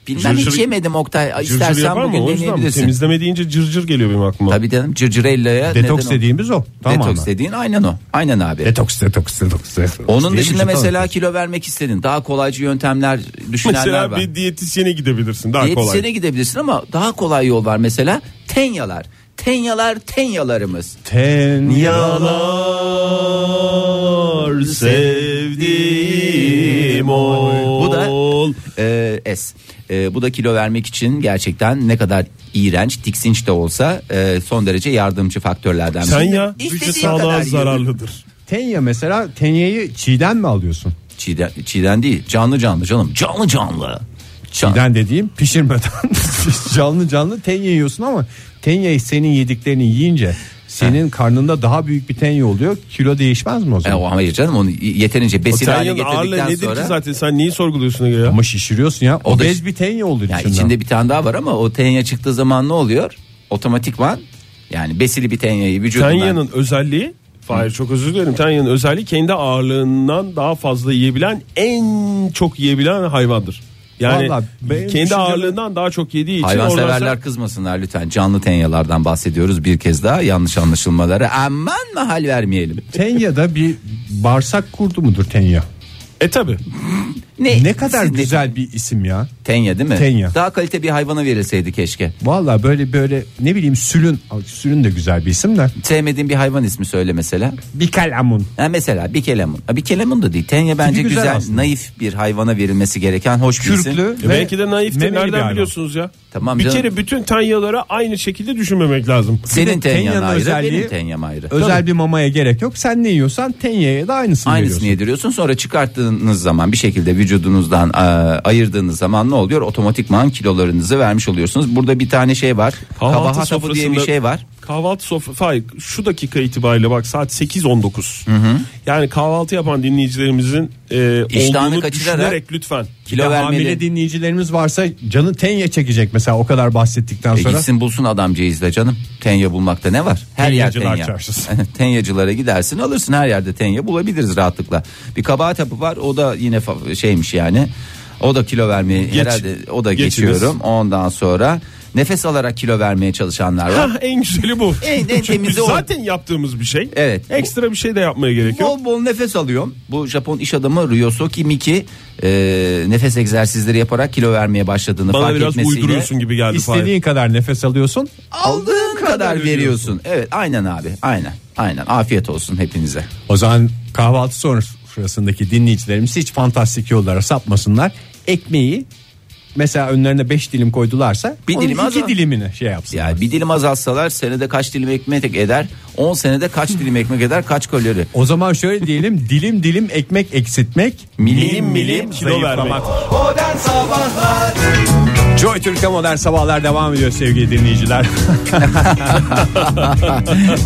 C: Bilmem
D: Cırcır-
C: hiç yemedim Oktay.
D: Cırcır
C: İstersen
D: yapar mı?
C: bugün
D: O yüzden mi?
C: deneyebilirsin.
D: temizleme deyince cırcır geliyor benim aklıma.
C: Tabii canım cırcırella'ya
B: Detoks
C: neden o?
B: dediğimiz o. Tamam
C: detoks dediğin aynen o. Aynen abi.
B: Detoks, detoks, detoks, detoks.
C: Onun
B: Değil
C: dışında
B: mi?
C: mesela kilo vermek istedin. Daha kolaycı yöntemler düşünenler
D: Mesela
C: var.
D: bir diyetisyene gidebilirsin daha kolay.
C: Diyetisyene gidebilirsin ama daha kolay yol var mesela. Tenyalar. Tenyalar tenyalarımız.
B: Ten yalan
D: sevdiğim
C: Bu da e, es. E, bu da kilo vermek için gerçekten ne kadar iğrenç, tiksinç de olsa e, son derece yardımcı faktörlerden biri.
D: Sen ya
C: İstediğin
D: vücut sağlığa
C: kadar yiyin.
D: zararlıdır.
B: Tenya mesela tenyeyi çiğden mi alıyorsun?
C: Çiğden, çiğden değil, canlı canlı canım. Canlı canlı. Can-
B: Çiğden dediğim pişirmeden canlı canlı tenye yiyorsun ama tenye senin yediklerini yiyince senin karnında daha büyük bir tenye oluyor. Kilo değişmez mi o
C: E,
B: zaman?
C: o hayır canım onu yeterince besin haline
D: Otelyanın ağırlığı
C: getirdikten
D: nedir ki
C: sonra.
D: zaten sen neyi sorguluyorsun Ege ya?
B: Ama şişiriyorsun ya.
C: O da-
B: Obez bir tenye oldu
C: Ya
B: içinden.
C: içinde bir tane daha var ama o tenya çıktığı zaman ne oluyor? Otomatikman yani besili bir tenyayı vücudundan.
D: Tanya'nın özelliği Hayır çok özür dilerim. Tanya'nın özelliği kendi ağırlığından daha fazla yiyebilen en çok yiyebilen hayvandır. Yani
B: Vallahi benim
D: kendi
B: düşüncem-
D: ağırlığından daha çok yediği için
C: Hayvanseverler
D: oradan sen-
C: kızmasınlar lütfen. Canlı tenyalardan bahsediyoruz bir kez daha. Yanlış anlaşılmaları aman mahal vermeyelim.
B: Tenya'da bir bağırsak kurdu mudur Tenya?
D: E tabi.
C: E,
B: Ne kadar
C: Siz-
B: güzel bir isim ya.
C: Tenya değil mi?
B: Tenya.
C: Daha kalite bir hayvana verilseydi keşke.
B: Valla böyle böyle ne bileyim sülün. Ay, Sülün de güzel bir isim de.
C: Sevmediğin bir hayvan ismi söyle mesela.
B: Bir kalamun.
C: Ha mesela bir kelemun. Ha, Bir kelemun da değil. Tenya bence
B: güzel
C: güzel,
B: aslında.
C: naif bir hayvana verilmesi gereken hoş bir isim.
B: Kürklü.
D: E
B: ve
D: belki de naif
B: memeli bir
D: nereden
B: hayvan.
D: biliyorsunuz ya?
C: Tamam
D: bir
C: canım.
D: kere bütün Tanyalara aynı şekilde düşünmemek lazım.
C: Senin
B: Bir de
C: tenyan
B: Tenya'nın
C: ayrı,
B: özelliği-
C: benim tenyam ayrı.
B: Özel bir mamaya gerek yok. Sen ne yiyorsan Tenya'ya da aynısını,
C: Aynısını
B: veriyorsun.
C: yediriyorsun sonra çıkarttığınız zaman bir şekilde vücudunuzdan e, ayırdığınız zaman ne oluyor? Otomatikman kilolarınızı vermiş oluyorsunuz. Burada bir tane şey var. Kabaha tabu diye bir
D: sofrasında-
C: şey var.
D: Kahvaltı sofrası. Hayır şu dakika itibariyle bak saat 8.19. Yani kahvaltı yapan dinleyicilerimizin e,
C: İştahını
D: olduğunu
C: kaçırarak
D: düşünerek lütfen.
C: Kilo
B: Ya
C: vermeli.
B: hamile dinleyicilerimiz varsa canı Tenya çekecek mesela o kadar bahsettikten
C: E
B: sonra.
C: gitsin bulsun adamcağızı da canım. Tenya bulmakta ne var? Her yer
B: Tenyacılar
C: tenya.
B: çarşısı.
C: Tenyacılara gidersin alırsın her yerde tenya bulabiliriz rahatlıkla. Bir kabahat hapı var o da yine fa- şeymiş yani. O da kilo vermeye herhalde o da
D: geçiniz.
C: geçiyorum. Ondan sonra nefes alarak kilo vermeye çalışanlar var.
D: Hah, en güzeli bu.
C: En- en
D: Çünkü
C: temizi o.
D: zaten yaptığımız bir şey.
C: Evet.
D: Ekstra bir şey de yapmaya gerek yok.
C: Bol bol nefes alıyorum. Bu Japon iş adamı Ryosuke Miki e, nefes egzersizleri yaparak kilo vermeye başladığını
D: Bana
C: fark
D: biraz
C: etmesiyle
D: uyduruyorsun gibi geldi. Fahir.
B: İstediğin kadar nefes alıyorsun.
C: aldığın kadar, veriyorsun. Evet aynen abi aynen aynen afiyet olsun hepinize.
B: O zaman kahvaltı sonrasındaki dinleyicilerimiz hiç fantastik yollara sapmasınlar. Ekmeği mesela önlerine 5 dilim koydularsa
C: Bir
B: bir
C: dilim az ama.
B: iki dilimini şey yapsın.
C: Yani bir dilim azalsalar senede kaç dilim ekmek eder? 10 senede kaç dilim ekmek eder? Kaç kalori?
B: O zaman şöyle diyelim dilim dilim ekmek eksiltmek
C: Milim milim
D: Kilo vermek.
E: Modern Sabahlar
B: Joy Türk'e modern sabahlar devam ediyor sevgili dinleyiciler.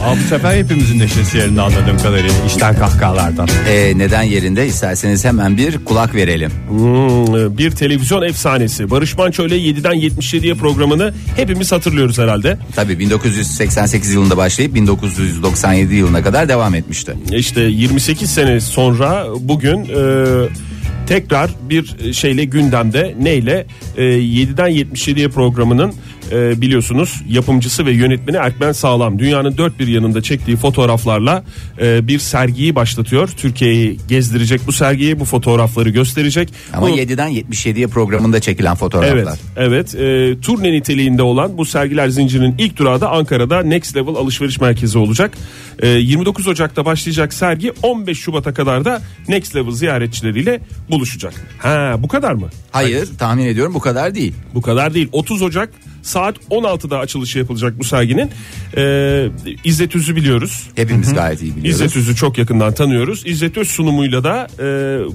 B: Abi bu sefer hepimizin neşesi yerinde anladığım kadarıyla işten kahkahalardan.
C: Ee, neden yerinde? İsterseniz hemen bir kulak verelim.
D: Hmm, bir televizyon efsanesi. Barış Manço ile 7'den 77'ye programını hepimiz hatırlıyoruz herhalde.
C: Tabii 1988 yılında başlayıp 1997 yılına kadar devam etmişti.
D: İşte 28 sene sonra bugün e, tekrar bir şeyle gündemde neyle E, 7'den 77'ye programının e, biliyorsunuz yapımcısı ve yönetmeni Erkmen Sağlam dünyanın dört bir yanında çektiği fotoğraflarla e, bir sergiyi başlatıyor. Türkiye'yi gezdirecek bu sergiyi bu fotoğrafları gösterecek.
C: Ama
D: Bu-
C: 7'den 77'ye programında çekilen fotoğraflar.
D: Evet, evet. E, turne niteliğinde olan bu sergiler zincirinin ilk durağı da Ankara'da Next Level Alışveriş Merkezi olacak. E, 29 Ocak'ta başlayacak sergi 15 Şubat'a kadar da Next Level ziyaretçileriyle buluşacak. Ha, bu kadar mı?
C: Hayır tahmin ediyorum bu kadar değil.
D: Bu kadar değil. 30 Ocak saat 16'da açılışı yapılacak bu serginin. E, İzzet Üzü biliyoruz.
C: Hepimiz gayet iyi biliyoruz.
D: İzzet Üzü çok yakından tanıyoruz. İzzet Öz sunumuyla da e,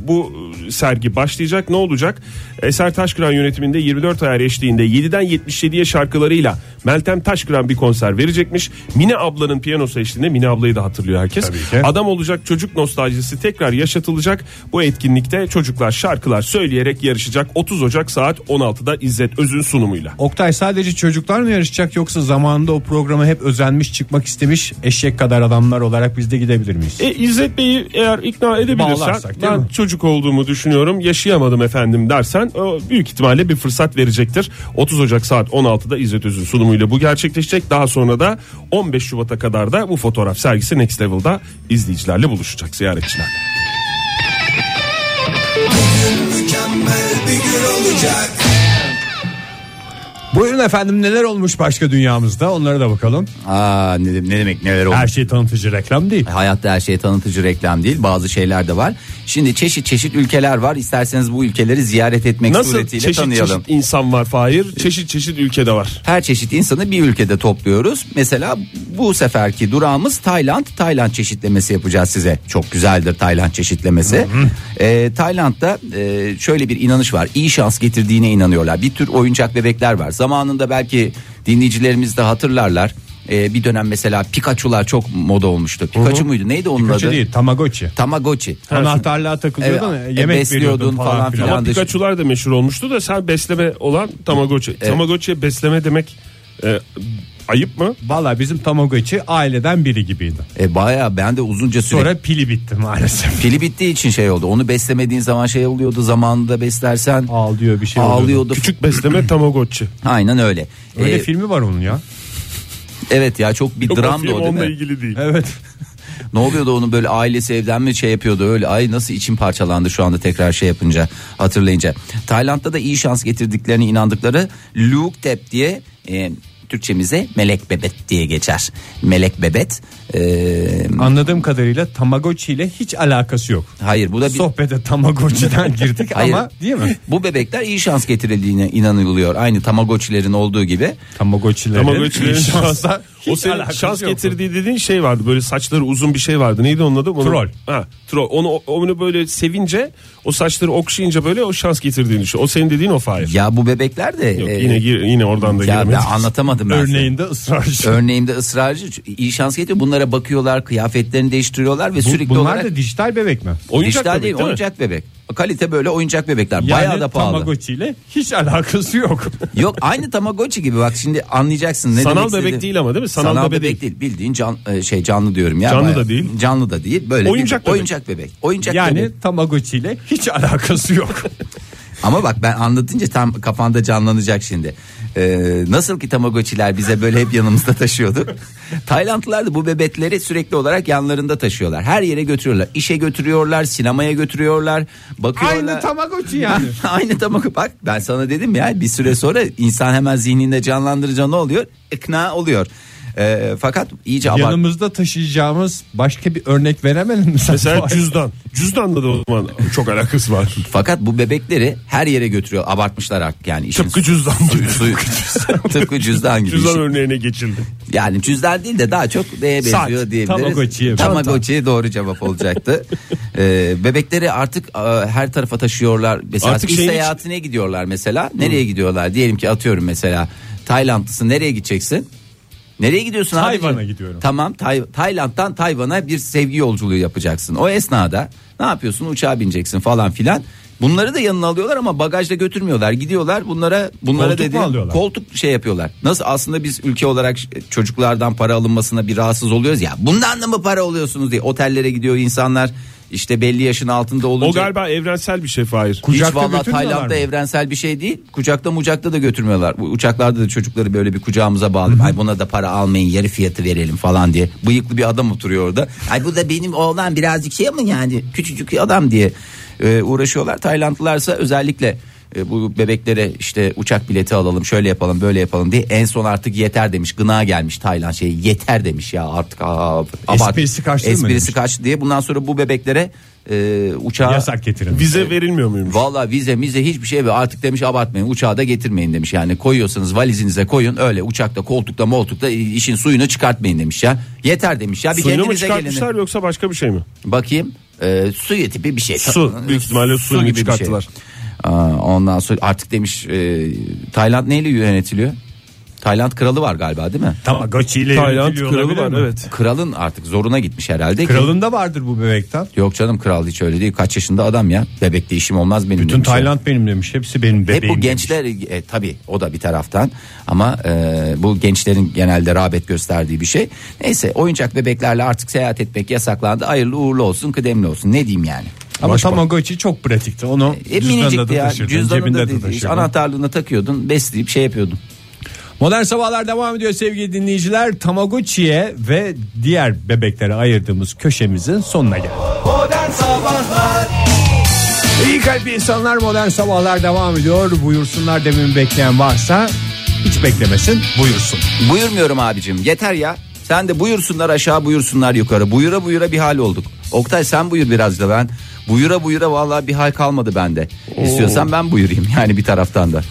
D: bu sergi başlayacak. Ne olacak? Eser Taşkıran yönetiminde 24 ayar eşliğinde 7'den 77'ye şarkılarıyla Meltem Taşkıran bir konser verecekmiş. Mine ablanın piyanosu eşliğinde Mine ablayı da hatırlıyor herkes.
B: Tabii ki.
D: Adam olacak çocuk nostaljisi tekrar yaşatılacak. Bu etkinlikte çocuklar şarkılar söyleyerek yarışacak. 30 Ocak saat 16'da İzzet Öz'ün sunumuyla.
B: Oktay sadece çocuklar mı yarışacak yoksa zamanında o programa hep özenmiş çıkmak istemiş eşek kadar adamlar olarak biz de gidebilir miyiz?
D: E, İzzet Bey'i eğer ikna edebilirsen
B: Bağlarsak, değil
D: ben
B: mi?
D: çocuk olduğumu düşünüyorum yaşayamadım efendim dersen o büyük ihtimalle bir fırsat verecektir. 30 Ocak saat 16'da İzzet Öz'ün sunumuyla bu gerçekleşecek. Daha sonra da 15 Şubat'a kadar da bu fotoğraf sergisi Next Level'da izleyicilerle buluşacak ziyaretçilerle.
E: Mükemmel bir gün olacak
B: Buyurun efendim neler olmuş başka dünyamızda onlara da bakalım.
C: Aa, ne, ne demek neler oldu?
B: Her şey tanıtıcı reklam değil.
C: Hayatta her şey tanıtıcı reklam değil. Bazı şeyler de var. Şimdi çeşit çeşit ülkeler var. İsterseniz bu ülkeleri ziyaret etmek
D: Nasıl
C: suretiyle
D: çeşit
C: tanıyalım.
D: çeşit insan var Fahir? Çeşit çeşit ülkede var.
C: Her çeşit insanı bir ülkede topluyoruz. Mesela bu seferki durağımız Tayland. Tayland çeşitlemesi yapacağız size. Çok güzeldir Tayland çeşitlemesi. Ee, Tayland'da e, şöyle bir inanış var. İyi şans getirdiğine inanıyorlar. Bir tür oyuncak bebekler var. Zamanında belki dinleyicilerimiz de hatırlarlar. Ee, bir dönem mesela Pikachu'lar çok moda olmuştu. Pikachu muydu? Neydi onun
B: Kaçı
C: adı?
B: değil Tamagotchi.
C: Tamagotchi.
B: Anahtarlığa takılıyordun
C: Evet,
B: yemek
C: e, besliyordun
B: veriyordun falan,
C: falan
B: filan.
C: filan.
D: Ama
C: Yanlış.
D: Pikachu'lar da meşhur olmuştu da sen besleme olan Tamagotchi. Tamagotchi'ye besleme demek e, ayıp mı?
B: Valla bizim Tamagotchi aileden biri gibiydi.
C: E, Baya ben de uzunca süre
B: Sonra pili bitti maalesef.
C: Pili bittiği için şey oldu. Onu beslemediğin zaman şey oluyordu. Zamanında beslersen
B: Ağlıyor bir şey oluyordu.
C: ağlıyordu.
D: Küçük besleme Tamagotchi.
C: Aynen öyle.
B: Öyle
C: Ee,
B: filmi var onun ya.
C: evet ya çok bir
D: Yok, o
C: dram da
D: film
C: o değil
D: onunla
C: mi?
D: ilgili değil.
B: Evet.
C: Ne oluyordu onun böyle ailesi evden mi şey yapıyordu öyle. Ay nasıl içim parçalandı şu anda tekrar şey yapınca hatırlayınca. Tayland'da da iyi şans getirdiklerine inandıkları Luke Tep diye e, Türkçemize melek bebet diye geçer. Melek bebet. e,
B: Anladığım kadarıyla Tamagotchi ile hiç alakası yok.
C: hayır bu da bir
B: Sohbete Tamagotchi'den girdik
C: Hayır.
B: ama değil mi?
C: Bu bebekler iyi şans getirildiğine inanılıyor. Aynı Tamagotchi'lerin olduğu gibi.
B: Tamagotchi'lerin,
D: Tamagotchi'lerin şansa o
B: hiç
D: senin
B: alakası
D: şans
B: yok.
D: getirdiği dediğin şey vardı. Böyle saçları uzun bir şey vardı. Neydi onun adı? Onu-
B: Troll.
D: Ha, troll. Onu onu böyle sevince o saçları okşayınca böyle o şans getirdiğini düşün. O senin dediğin o Fahir.
C: Ya bu bebekler de
D: Yok,
C: e,
D: yine gir- yine oradan da
C: ya ben
D: giremedim.
C: anlatamadım ben. size.
B: Örneğinde ısrarcı.
C: Örneğimde ısrarcı iyi şans getiriyor. Bunlara bakıyorlar, kıyafetlerini değiştiriyorlar ve
B: Bu-
C: sürekli
B: Bunlar
C: olarak
B: da dijital bebek mi?
D: Oyuncak
C: dijital
D: bebek
C: değil,
D: değil mi?
C: oyuncak bebek. Kalite böyle oyuncak bebekler.
B: Yani
C: Bayağı da pahalı.
B: Tamagotchi ile hiç alakası yok.
C: Yok aynı Tamagotchi gibi bak şimdi anlayacaksın ne
D: Sanal
C: demek
D: bebek
C: istediğimi.
D: değil ama değil mi? Sanal bebek
C: değil. Bildiğin can, e, şey canlı diyorum ya.
D: Canlı da değil.
C: Canlı da değil. Böyle
D: Oyuncak
C: bir-
D: bebek.
C: oyuncak bebek. Oyuncak bebek.
B: yani Tamagotchi ile hiç alakası yok.
C: Ama bak ben anlatınca tam kafanda canlanacak şimdi. Ee, nasıl ki Tamagotchi'ler bize böyle hep yanımızda taşıyorduk. Taylandlılar da bu bebekleri sürekli olarak yanlarında taşıyorlar. Her yere götürüyorlar. İşe götürüyorlar, sinemaya götürüyorlar, bakıyorlar.
B: Aynı Tamagotchi yani.
C: Aynı Tamagotchi. Bak ben sana dedim ya bir süre sonra insan hemen zihninde canlandırıcı ne oluyor? İkna oluyor. Ee, fakat iyice abart.
B: Yanımızda taşıyacağımız başka bir örnek veremedin mi sen?
D: Mesela cüzdan. Cüzdanla da o zaman çok alakası var.
C: Fakat bu bebekleri her yere götürüyor. Abartmışlar artık yani. işin
D: Tıpkı cüzdan gibi.
C: suyu- Tıpkı cüzdan gibi.
D: Cüzdan
C: İşin-
D: örneğine geçildi.
C: Yani cüzdan değil de daha çok neye
B: Saat,
C: benziyor diyebiliriz.
B: Tamagotchi'ye.
C: Tamagotchi'ye doğru cevap olacaktı. Ee, bebekleri artık e, her tarafa taşıyorlar. Mesela
D: Artık
C: iş
B: şey
D: şeyin
C: seyahatine gidiyorlar mesela. Nereye gidiyorlar? Diyelim ki atıyorum mesela Taylandlısın nereye gideceksin? Nereye gidiyorsun abicim?
B: Tayvan'a gidiyorum.
C: Tamam Tay- Tayland'dan Tayvan'a bir sevgi yolculuğu yapacaksın. O esnada ne yapıyorsun uçağa bineceksin falan filan. Bunları da yanına alıyorlar ama bagajla götürmüyorlar. Gidiyorlar bunlara bunlara
B: Koltuk mu
C: dediğim-
B: alıyorlar?
C: koltuk şey yapıyorlar. Nasıl aslında biz ülke olarak ş- çocuklardan para alınmasına bir rahatsız oluyoruz ya. Bundan da mı para oluyorsunuz diye otellere gidiyor insanlar. İşte belli yaşın altında olunca.
D: O galiba evrensel bir şey Fahir.
C: hiç
B: Kucakta
C: valla
B: götürmüyorlar
C: Tayland'da
B: mı?
C: evrensel bir şey değil. Kucakta mucakta da götürmüyorlar. Bu Uçaklarda da çocukları böyle bir kucağımıza bağlı. Ay buna da para almayın yarı fiyatı verelim falan diye. Bıyıklı bir adam oturuyor orada. Ay bu da benim oğlan birazcık şey ama yani küçücük bir adam diye e, uğraşıyorlar. Taylandlılarsa özellikle e, bu bebeklere işte uçak bileti alalım şöyle yapalım böyle yapalım diye en son artık yeter demiş gına gelmiş Tayland şey yeter demiş ya artık aa, abart-
B: Esprisi kaçtı mı
C: esprisi
B: demiş?
C: kaçtı diye bundan sonra bu bebeklere e, uçağa
B: Yasak getirin.
D: Vize verilmiyor muymuş?
C: Valla vize mize hiçbir şey ve artık demiş abartmayın uçağa da getirmeyin demiş yani koyuyorsanız valizinize koyun öyle uçakta koltukta moltukta işin suyunu çıkartmayın demiş ya yeter demiş ya bir
D: Suyunu mu
C: kendinize gelin
D: çıkartmışlar yoksa başka bir şey mi?
C: bakayım e, suyu tipi bir şey
D: Su, büyük ihtimalle suyunu çıkarttılar.
C: şey. Aa, ondan sonra artık demiş e, Tayland neyle yönetiliyor Tayland kralı var galiba değil mi
B: Tamagotchi ile
D: Tayland
B: yönetiliyor
D: kralı
B: olabilir
D: var
B: mi?
D: evet.
C: kralın artık zoruna gitmiş herhalde ki-
B: Kralın da vardır bu bebekten.
C: Yok canım kral hiç öyle değil. Kaç yaşında adam ya. Bebekle işim olmaz benim.
B: Bütün
C: demiş ya.
B: Tayland benim demiş. Hepsi benim bebeğim.
C: şey? Hep bu
B: demiş.
C: gençler e, tabii o da bir taraftan ama e, bu gençlerin genelde rağbet gösterdiği bir şey. Neyse oyuncak bebeklerle artık seyahat etmek yasaklandı. Hayırlı uğurlu olsun kıdemli olsun ne diyeyim yani.
B: Ama
C: Boş bak.
B: Tamagotchi çok pratikti. Onu
C: E,
B: cüzdanında
C: minicikti
B: da
C: ya.
B: taşırdın.
C: Cüzdanında
B: cebinde
C: değil,
B: de
C: hiç
B: taşırdın.
C: anahtarlığına şey. takıyordun besleyip şey yapıyordun.
B: Modern Sabahlar devam ediyor sevgili dinleyiciler. Tamagotchi'ye ve diğer bebeklere ayırdığımız köşemizin sonuna geldik.
E: Modern Sabahlar
B: İyi kalp insanlar modern sabahlar devam ediyor. Buyursunlar demin bekleyen varsa hiç beklemesin buyursun.
C: Buyurmuyorum abicim yeter ya. Sen de buyursunlar aşağı buyursunlar yukarı. Buyura buyura bir hal olduk. Oktay sen buyur biraz da ben. Buyura buyura vallahi bir hal kalmadı bende. İstiyorsan ben buyurayım yani bir taraftan da.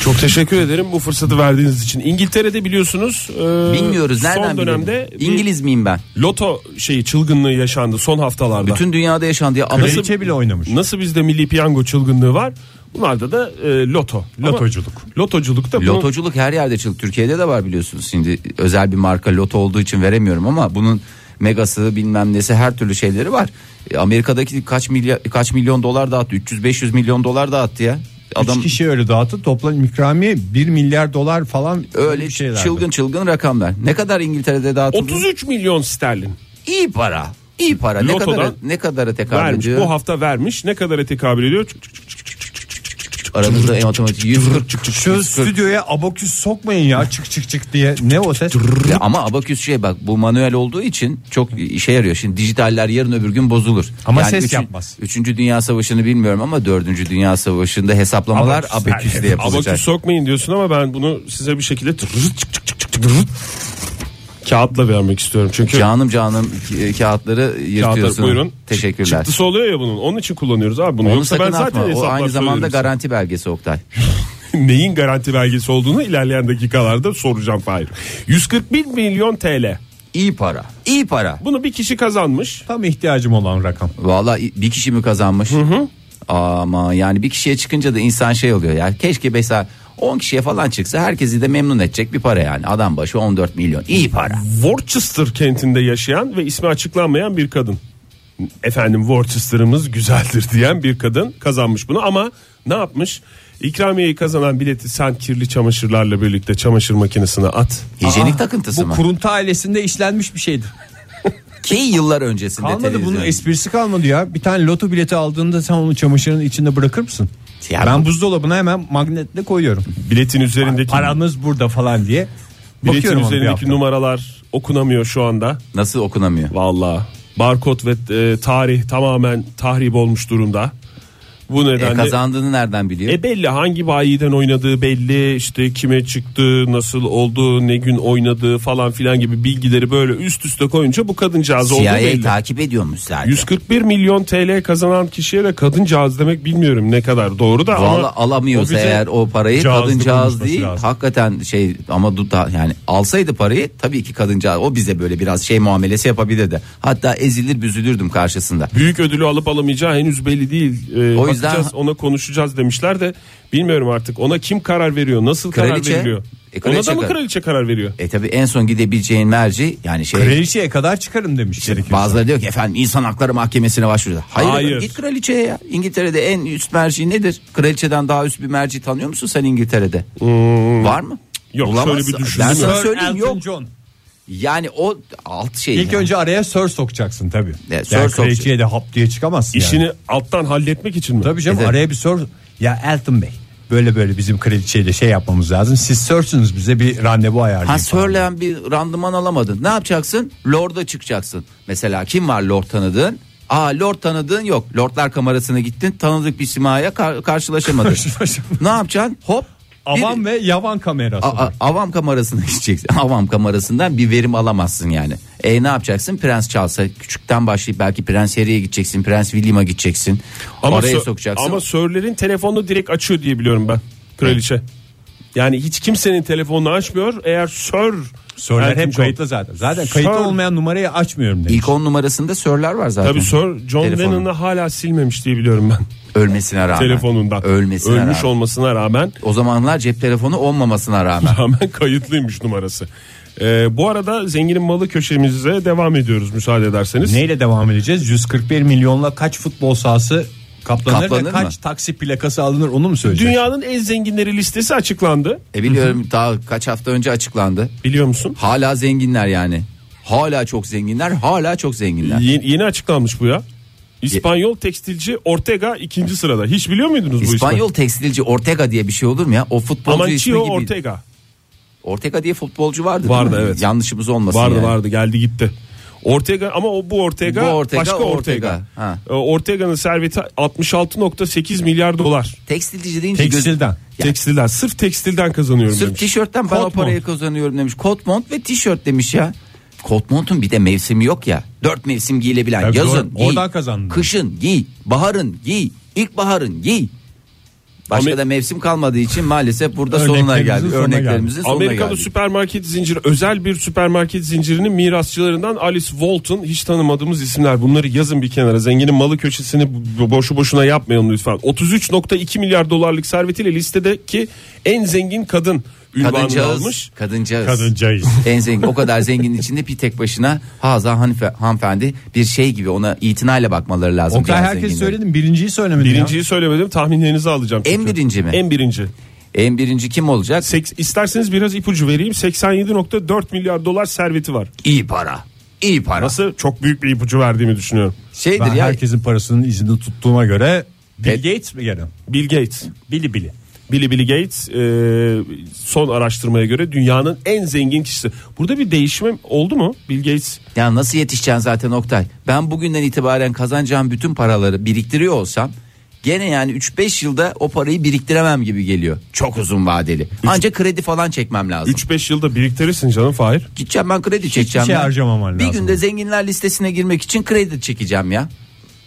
D: Çok teşekkür ederim bu fırsatı verdiğiniz için. İngiltere'de biliyorsunuz. e,
C: Bilmiyoruz nereden
D: Son dönemde
C: bilelim?
D: bir
C: İngiliz miyim ben?
D: loto şeyi çılgınlığı yaşandı son haftalarda.
C: Bütün dünyada yaşandı ya. Anası-
B: Kraliçe bile oynamış.
D: Nasıl bizde milli piyango çılgınlığı var? Bunlarda da e, loto. Ama
B: Lotoculuk.
D: lotoculuk da bunun-
C: Lotoculuk her yerde çılgın. Türkiye'de de var biliyorsunuz. Şimdi özel bir marka loto olduğu için veremiyorum ama bunun megası bilmem nesi her türlü şeyleri var. E, Amerika'daki kaç milyar kaç milyon dolar dağıttı? 300-500 milyon dolar dağıttı ya. Adam
B: Üç kişi öyle dağıttı toplam ikramiye 1 milyar dolar falan
C: öyle
B: bir şeylerdi.
C: çılgın çılgın rakamlar. Ne kadar İngiltere'de dağıtıldı?
D: 33 milyon sterlin
C: iyi para. İyi para. Ne
D: Lotodan
C: kadar ne kadara tekabül
D: vermiş.
C: ediyor?
D: Bu hafta vermiş. Ne kadara tekabül ediyor? Çık, çık, çık, çık, çık, çık, çık, çık, çık, çık.
C: Aramızda en matematik 140
B: Şu stüdyoya abaküs sokmayın ya çık çık çık diye. Ne o ses?
C: Ya ama abaküs şey bak bu manuel olduğu için çok işe yarıyor. Şimdi dijitaller yarın öbür gün bozulur.
B: Ama ses yapmaz.
C: Üçüncü Dünya Savaşı'nı bilmiyorum ama dördüncü Dünya Savaşı'nda hesaplamalar
B: Abaküs.
C: abaküsle yapılacak.
D: Abaküs sokmayın diyorsun ama ben bunu size bir şekilde tır- çık, çık, çık, çık, çık, kağıtla vermek istiyorum. Çünkü
C: Canım canım ki- e, kağıtları yırtıyorsun.
D: kağıtlar buyurun.
C: Teşekkürler.
D: Çıktısı oluyor ya bunun. Onun için kullanıyoruz abi bunu.
C: Onu
D: Yoksa ben
C: sakın
D: zaten
C: atma. O
D: hesaplar
C: aynı
D: söylerim
C: zamanda
D: size.
C: garanti belgesi Oktay.
D: neyin garanti belgesi olduğunu ilerleyen dakikalarda soracağım Fahir. 141 milyon TL.
C: İyi para. İyi para.
D: Bunu bir kişi kazanmış.
B: Tam ihtiyacım olan rakam.
C: Valla bir kişi mi kazanmış? Ama yani bir kişiye çıkınca da insan şey oluyor ya. Keşke mesela 10 kişiye falan çıksa herkesi de memnun edecek bir para yani. Adam başı 14 milyon. İyi para.
D: Worcester kentinde yaşayan ve ismi açıklanmayan bir kadın. Efendim Worcester'ımız güzeldir diyen bir kadın kazanmış bunu ama ne yapmış? İkramiyeyi kazanan bileti sen kirli çamaşırlarla birlikte çamaşır makinesine at.
C: Hijyenik takıntısı
B: Bu
C: mı?
B: kuruntu ailesinde işlenmiş bir şeydi.
C: Ki yıllar öncesinde
B: Kalmadı
C: televizyon-
B: bunun esprisi kalmadı ya. Bir tane loto bileti aldığında sen onu çamaşırın içinde bırakır mısın?
C: Ya
B: ben
C: bu-
B: buzdolabına hemen magnetle koyuyorum.
D: Biletin üzerindeki
B: Paramız burada falan diye.
D: biletin
B: Bakıyorum ona bir
D: üzerindeki
B: hafta.
D: numaralar okunamıyor şu anda.
C: Nasıl okunamıyor?
D: Vallahi barkod ve e, tarih tamamen tahrip olmuş durumda. Bu
C: E,
D: nedenle e,
C: kazandığını nereden biliyor?
D: belli hangi bayiden oynadığı belli işte kime çıktı nasıl oldu ne gün oynadığı falan filan gibi bilgileri böyle üst üste koyunca bu kadıncağız oldu
C: CIA
D: belli.
C: takip ediyormuş zaten.
D: 141 milyon TL kazanan kişiye de kadıncağız demek bilmiyorum ne kadar doğru da ama
C: Valla alamıyorsa
D: o bize
C: eğer o parayı
D: cazlı
C: kadıncağız
D: konuşması
C: değil
D: lazım.
C: hakikaten şey ama duta yani alsaydı parayı tabii ki kadıncağız o bize böyle biraz şey muamelesi yapabilirdi. Hatta ezilir büzülürdüm karşısında.
D: büyük ödülü alıp alamayacağı henüz belli değil. Ee,
C: O yüzden-
D: bakacağız, ona konuşacağız demişler de bilmiyorum artık ona kim karar veriyor nasıl
C: Kraliçe.
D: karar veriliyor.
C: E, kraliçe
D: ona da mı
C: karar-
D: kraliçe karar veriyor?
C: E tabii en son gidebileceğin merci yani şey
B: Kraliçeye kadar çıkarım demiş. gerekirse.
C: Bazıları diyor ki efendim insan hakları mahkemesine başvuruyor. Hayır,
D: Hayır.
C: efendim, git kraliçeye ya. İngiltere'de en üst merci nedir? Kraliçeden daha üst bir merci tanıyor musun sen İngiltere'de? Var mı?
D: Hmm. Yok,
C: Bulamazsın.
D: şöyle bir düşündüm
C: Ben
D: ya.
C: sana
B: Sir
C: söyleyeyim
B: Elton
C: yok.
B: John.
C: Yani o alt şey.
B: İlk
C: yani.
B: önce araya sör sokacaksın tabii.
C: Evet, sör
B: yani
C: sokacaksın.
B: kraliçeye de hap diye çıkamazsın yani.
D: İşini alttan halletmek için mi?
B: Tabii canım
C: Evet.
B: araya bir sor. Ya Elton Bey böyle böyle bizim kraliçeyle şey yapmamız lazım. Siz sörsünüz bize bir randevu ayarlayın.
C: Ha
B: falan.
C: Sörlen bir randıman alamadın. Ne yapacaksın? Lord'a çıkacaksın. Mesela kim var Lord tanıdığın? Aa Lord tanıdığın yok. Lordlar kamerasına gittin. Tanıdık bir simaya kar- karşılaşamadın.
B: Karşılaşamadın.
C: ne yapacaksın? Hop. bir-
B: Avam ve yavan kamerası.
C: A- a- avam kamerasına gideceksin. Avam kamerasından bir verim alamazsın yani. E ne yapacaksın? Prens Charles'a küçükten başlayıp belki Prens Harry'e gideceksin. Prens William'a gideceksin. Araya
D: Sir-
C: sokacaksın.
D: Ama Sörler'in telefonunu direkt açıyor diye biliyorum ben. Kraliçe. Yani hiç kimsenin telefonunu açmıyor. Eğer Sör
B: Sörler
D: Elton
B: hep
D: John-
B: kayıtlı zaten. Zaten kayıtlı
D: Sir-
B: olmayan numarayı açmıyorum demiş.
C: İlk on numarasında Sörler var zaten.
D: Tabii Sir John
C: Telefonu.
D: Lennon'ı hala silmemiş diye biliyorum ben.
C: Ölmesine rağmen.
D: Telefonundan.
C: Ölmesine
D: Ölmüş
C: rağmen.
D: olmasına rağmen
C: O zamanlar cep telefonu olmamasına rağmen.
D: rağmen kayıtlıymış numarası. Ee, bu arada zenginin malı köşemize devam ediyoruz müsaade ederseniz.
B: Neyle devam edeceğiz? 141 milyonla kaç futbol sahası kaplanır,
C: Kaplanır
B: ve
C: mı?
B: kaç taksi plakası alınır onu mu söyleyeceksin?
D: Dünyanın en zenginleri listesi açıklandı.
C: E biliyorum daha kaç hafta önce açıklandı.
D: Biliyor musun?
C: Hala zenginler yani. Hala çok zenginler, hala çok zenginler.
D: Yeni, yeni açıklanmış bu ya. İspanyol tekstilci Ortega ikinci sırada. Hiç biliyor muydunuz bu ismi?
C: İspanyol tekstilci Ortega diye bir şey olur mu ya? O futbolcu ismi
D: Amancio
C: gibi.
D: Ortega.
C: Ortega diye futbolcu vardı. değil
D: Vardı,
C: mi?
D: evet.
C: Yanlışımız olmasın.
D: Vardı
C: yani.
D: vardı geldi gitti. Ortega ama o bu Ortega,
C: Bu Ortega,
D: başka
C: o Ortega.
D: Ortega.
C: Ha.
D: Ee, Ortega'nın serveti 66.8 milyar dolar.
C: Tekstilci deyince göz-
B: Tekstilden.
D: Tekstilden sırf tekstilden kazanıyorum
C: Sırf
D: demiş.
C: tişörtten ben o
D: Kot
C: parayı
D: mont.
C: kazanıyorum demiş. Kot mont ve tişört demiş ya. Kot montun bir de mevsimi yok ya. Dört mevsim giyilebilen.
B: Tabii
C: Yazın
B: doğru.
C: giy.
B: Oradan kazandın.
C: Kışın giy. Baharın giy. İlkbaharın giy. Başka
D: Amer-
C: da mevsim kalmadığı için maalesef burada sonuna
B: Örneklerimizin
C: geldik.
B: sonuna
C: Örneklerimizin sonuna
D: Amerikalı
C: geldik.
D: süpermarket zinciri özel bir süpermarket zincirinin mirasçılarından Alice Walton hiç tanımadığımız isimler bunları yazın bir kenara zenginin malı köşesini bo- boşu boşuna yapmayalım lütfen 33.2 milyar dolarlık servetiyle listedeki en zengin kadın ünvanını
C: Kadıncağız.
D: almış
C: Kadıncağız.
B: Kadıncayız.
C: en zengin o kadar zenginin içinde bir tek başına Haza hanife- hanımefendi bir şey gibi ona itinayla bakmaları lazım.
B: Oktay
C: diğer
B: herkes
C: zenginlerin.
B: söyledim birinciyi söylemedin ya.
D: birinciyi söylemedim tahminlerinizi alacağım
C: En
D: çünkü.
C: birinci mi?
D: en birinci
C: En birinci kim olacak?
D: Seks, isterseniz biraz ipucu vereyim 87.4 milyar dolar serveti var
C: iyi para. İyi para.
D: nasıl çok büyük bir ipucu verdiğimi düşünüyorum
C: Şeydir
B: Ben
C: ya.
B: herkesin parasının izini tuttuğuma göre Bill
C: Evet.
B: Gates mi gene?
D: Bill Gates
B: Bili bili.
D: Billy Billy Gates e, son araştırmaya göre dünyanın en zengin kişisi. Burada bir değişme oldu mu? Bill Gates
C: Ya nasıl yetişeceksin zaten Oktay? Ben bugünden itibaren kazanacağım bütün paraları biriktiriyor olsam gene yani 3-5 yılda o parayı biriktiremem gibi geliyor. Çok uzun vadeli. Ancak kredi falan çekmem lazım.
D: 3-5 yılda biriktirirsin canım Fahir.
C: Gideceğim ben kredi çekeceğim.
B: şey
C: ya.
B: harcamaman
C: bir
B: lazım.
C: günde zenginler listesine girmek için kredi çekeceğim ya.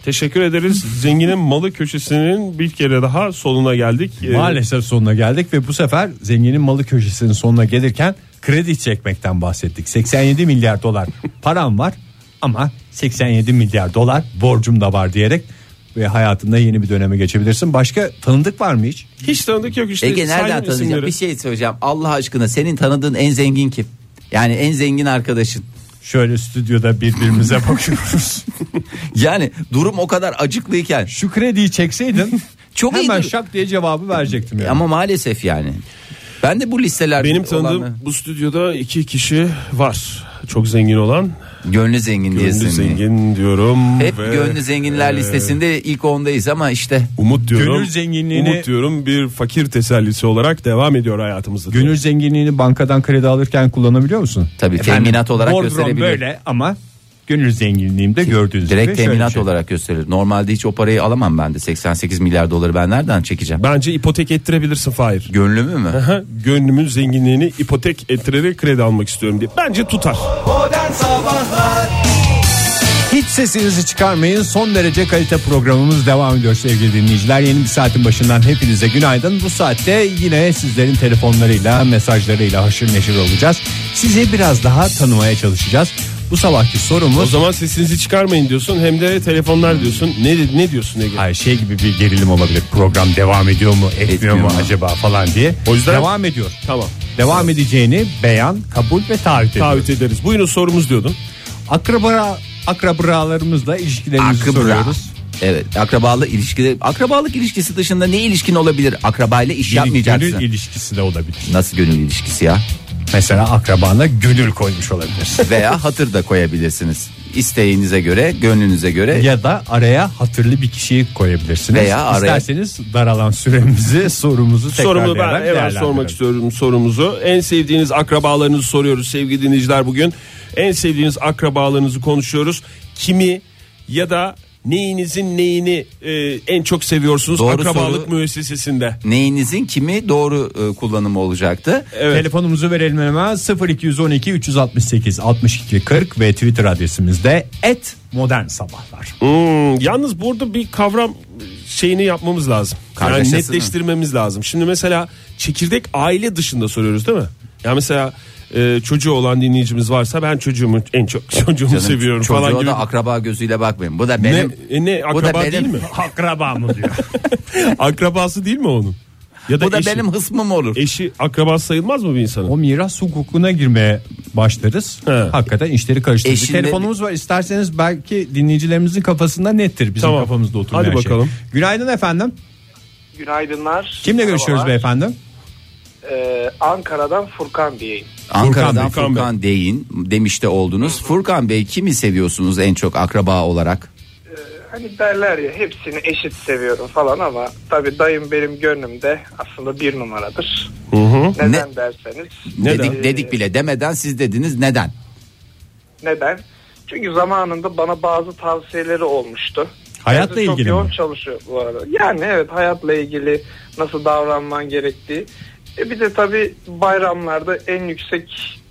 D: Teşekkür ederiz. Zenginin malı köşesinin bir kere daha sonuna geldik.
B: Ee,
D: E,
B: Maalesef sonuna geldik ve bu sefer zenginin malı köşesinin sonuna gelirken kredi çekmekten bahsettik. 87 milyar dolar param var ama 87 milyar dolar borcum da var diyerek ve hayatında yeni bir döneme geçebilirsin. Başka tanıdık var mı hiç?
D: Hiç tanıdık yok işte.
C: Ege
D: Sayın
C: nereden tanıyacağım?
D: isimleri.
C: Bir şey söyleyeceğim. Allah aşkına senin tanıdığın en zengin kim? Yani en zengin arkadaşın.
B: Şöyle stüdyoda birbirimize bakıyoruz.
C: Yani durum o kadar acıklıyken.
B: Şu krediyi çekseydin
C: Çok
B: hemen
C: iyiydi.
B: şak diye cevabı verecektim yani.
C: Ama maalesef yani. Ben de bu listelerde
D: Benim tanıdığım
C: olanı-
D: bu stüdyoda iki kişi var. Çok zengin olan.
C: gönlü zengin diye
D: Gönlü
C: seni.
D: zengin diyorum.
C: Hep
D: ve,
C: gönlü zenginler
D: e,
C: listesinde ilk ondayız ama işte
D: Umut diyorum.
B: Gönül zenginliğini-
D: Umut diyorum bir fakir tesellisi olarak devam ediyor hayatımızda.
B: Gönül zenginliğini bankadan kredi alırken kullanabiliyor musun?
C: Tabii, teminat olarak
B: bordrom
C: gösterebiliyor.
B: böyle ama gönül zenginliğimde gördüğünüz
C: direkt
B: gibi şöyle
C: teminat
B: bir şey.
C: olarak gösterir. Normalde hiç o parayı alamam ben de 88 milyar doları ben nereden çekeceğim?
D: Bence ipotek ettirebilirsin Fahir.
C: Gönlümü mü?
D: Aha, gönlümün zenginliğini ipotek ettirerek kredi almak istiyorum diye. Bence tutar.
E: Modern Sabahlar
B: Hiç sesinizi çıkarmayın. Son derece kalite programımız devam ediyor sevgili dinleyiciler. Yeni bir saatin başından hepinize günaydın. Bu saatte yine sizlerin telefonlarıyla, mesajlarıyla haşır neşir olacağız. Sizi biraz daha tanımaya çalışacağız. Bu sabahki
D: O
B: sorumuz
D: zaman sesinizi çıkarmayın diyorsun hem de telefonlar diyorsun. Ne ne diyorsun Ege?
B: Hayır, şey gibi bir gerilim olabilir. Program devam ediyor mu, etmiyor,
C: Etmiyor
B: mu
C: mu?
B: acaba falan diye.
D: O yüzden-
B: devam ediyor.
D: Tamam.
B: Devam edeceğini beyan, kabul ve taahhüt ediyoruz.
D: Taahhüt ederiz. Buyurun sorumuz diyordun.
B: Akrabara akrabralarımızla ilişkilerimizi
C: Akrabra.
B: soruyoruz.
C: Evet akrabalı ilişkide akrabalık ilişkisi dışında ne ilişkin olabilir? Akrabayla iş yapmayacaksın.
B: Gönül ilişkisi de olabilir.
C: Nasıl gönül ilişkisi ya?
B: Mesela akrabana gönül koymuş olabilirsin.
C: Veya hatır da koyabilirsiniz. İsteğinize göre, gönlünüze göre.
B: ya da araya hatırlı bir kişiyi koyabilirsiniz.
C: Veya araya-
B: İsterseniz daralan süremizi sorumuzu
D: Sorumu ben
B: tekrarlayarak
D: hemen sormak
B: değerlendirelim.
D: istiyorum sorumuzu. En sevdiğiniz akrabalarınızı soruyoruz sevgili dinleyiciler bugün. En sevdiğiniz akrabalarınızı konuşuyoruz. Kimi ya da neyinizin neyini e, en çok seviyorsunuz
C: Doğru
D: akrabalık
C: soru.
D: müessesesinde?
C: Neyinizin kimi doğru e, kullanımı olacaktı.
D: Evet.
B: Telefonumuzu verelim hemen 0212 368 62 40 ve Twitter adresimizde et modern sabahlar.
D: Hmm, yalnız burada bir kavram şeyini yapmamız lazım. Yani
C: Kardeşleştirme.
D: netleştirmemiz lazım. Şimdi mesela çekirdek aile dışında soruyoruz değil mi? Ya mesela e, çocuğu olan dinleyicimiz varsa ben çocuğumu en çok çocuğumu seviyorum
C: Çocuğa
D: falan gibi.
C: da akraba gözüyle bakmayın. Bu da benim.
D: ne, e, ne
C: bu da
D: akraba
C: benim-
D: değil mi?
B: Akraba mı diyor.
D: Akrabası değil mi onun? Ya da, E,
C: Bu da
D: eşi.
C: benim hısmım olur.
D: Eşi akrabası sayılmaz mı bir insanın?
B: O miras hukukuna girmeye başlarız.
D: He.
B: Hakikaten işleri karıştırır. Bir
C: Eşinle-
B: Telefonumuz var. İsterseniz belki dinleyicilerimizin kafasında nettir. Bizim
D: Tamam.
B: kafamızda oturmayan
D: Hadi
B: şey.
D: bakalım.
B: Günaydın efendim.
F: Günaydınlar.
B: Kimle görüşüyoruz
F: Merhabalar.
B: beyefendi?
F: Ee, Ankara'dan Furkan Bey'im.
C: Ankara'dan
D: Furkan Bey,
C: Furkan, Deyin demiş de oldunuz. Furkan Bey kimi seviyorsunuz en çok akraba olarak?
F: Hani derler ya hepsini eşit seviyorum falan ama tabii dayım benim gönlümde aslında bir numaradır. Neden
C: Ne-
F: derseniz.
D: Neden?
C: Dedik, dedik bile demeden siz dediniz neden?
F: Neden? Çünkü zamanında bana bazı tavsiyeleri olmuştu.
B: Hayatla
F: Kendisi
B: ilgili
F: Çok yoğun
B: mi?
F: çalışıyor bu arada. Yani evet hayatla ilgili nasıl davranman gerektiği. E bir de tabii bayramlarda en yüksek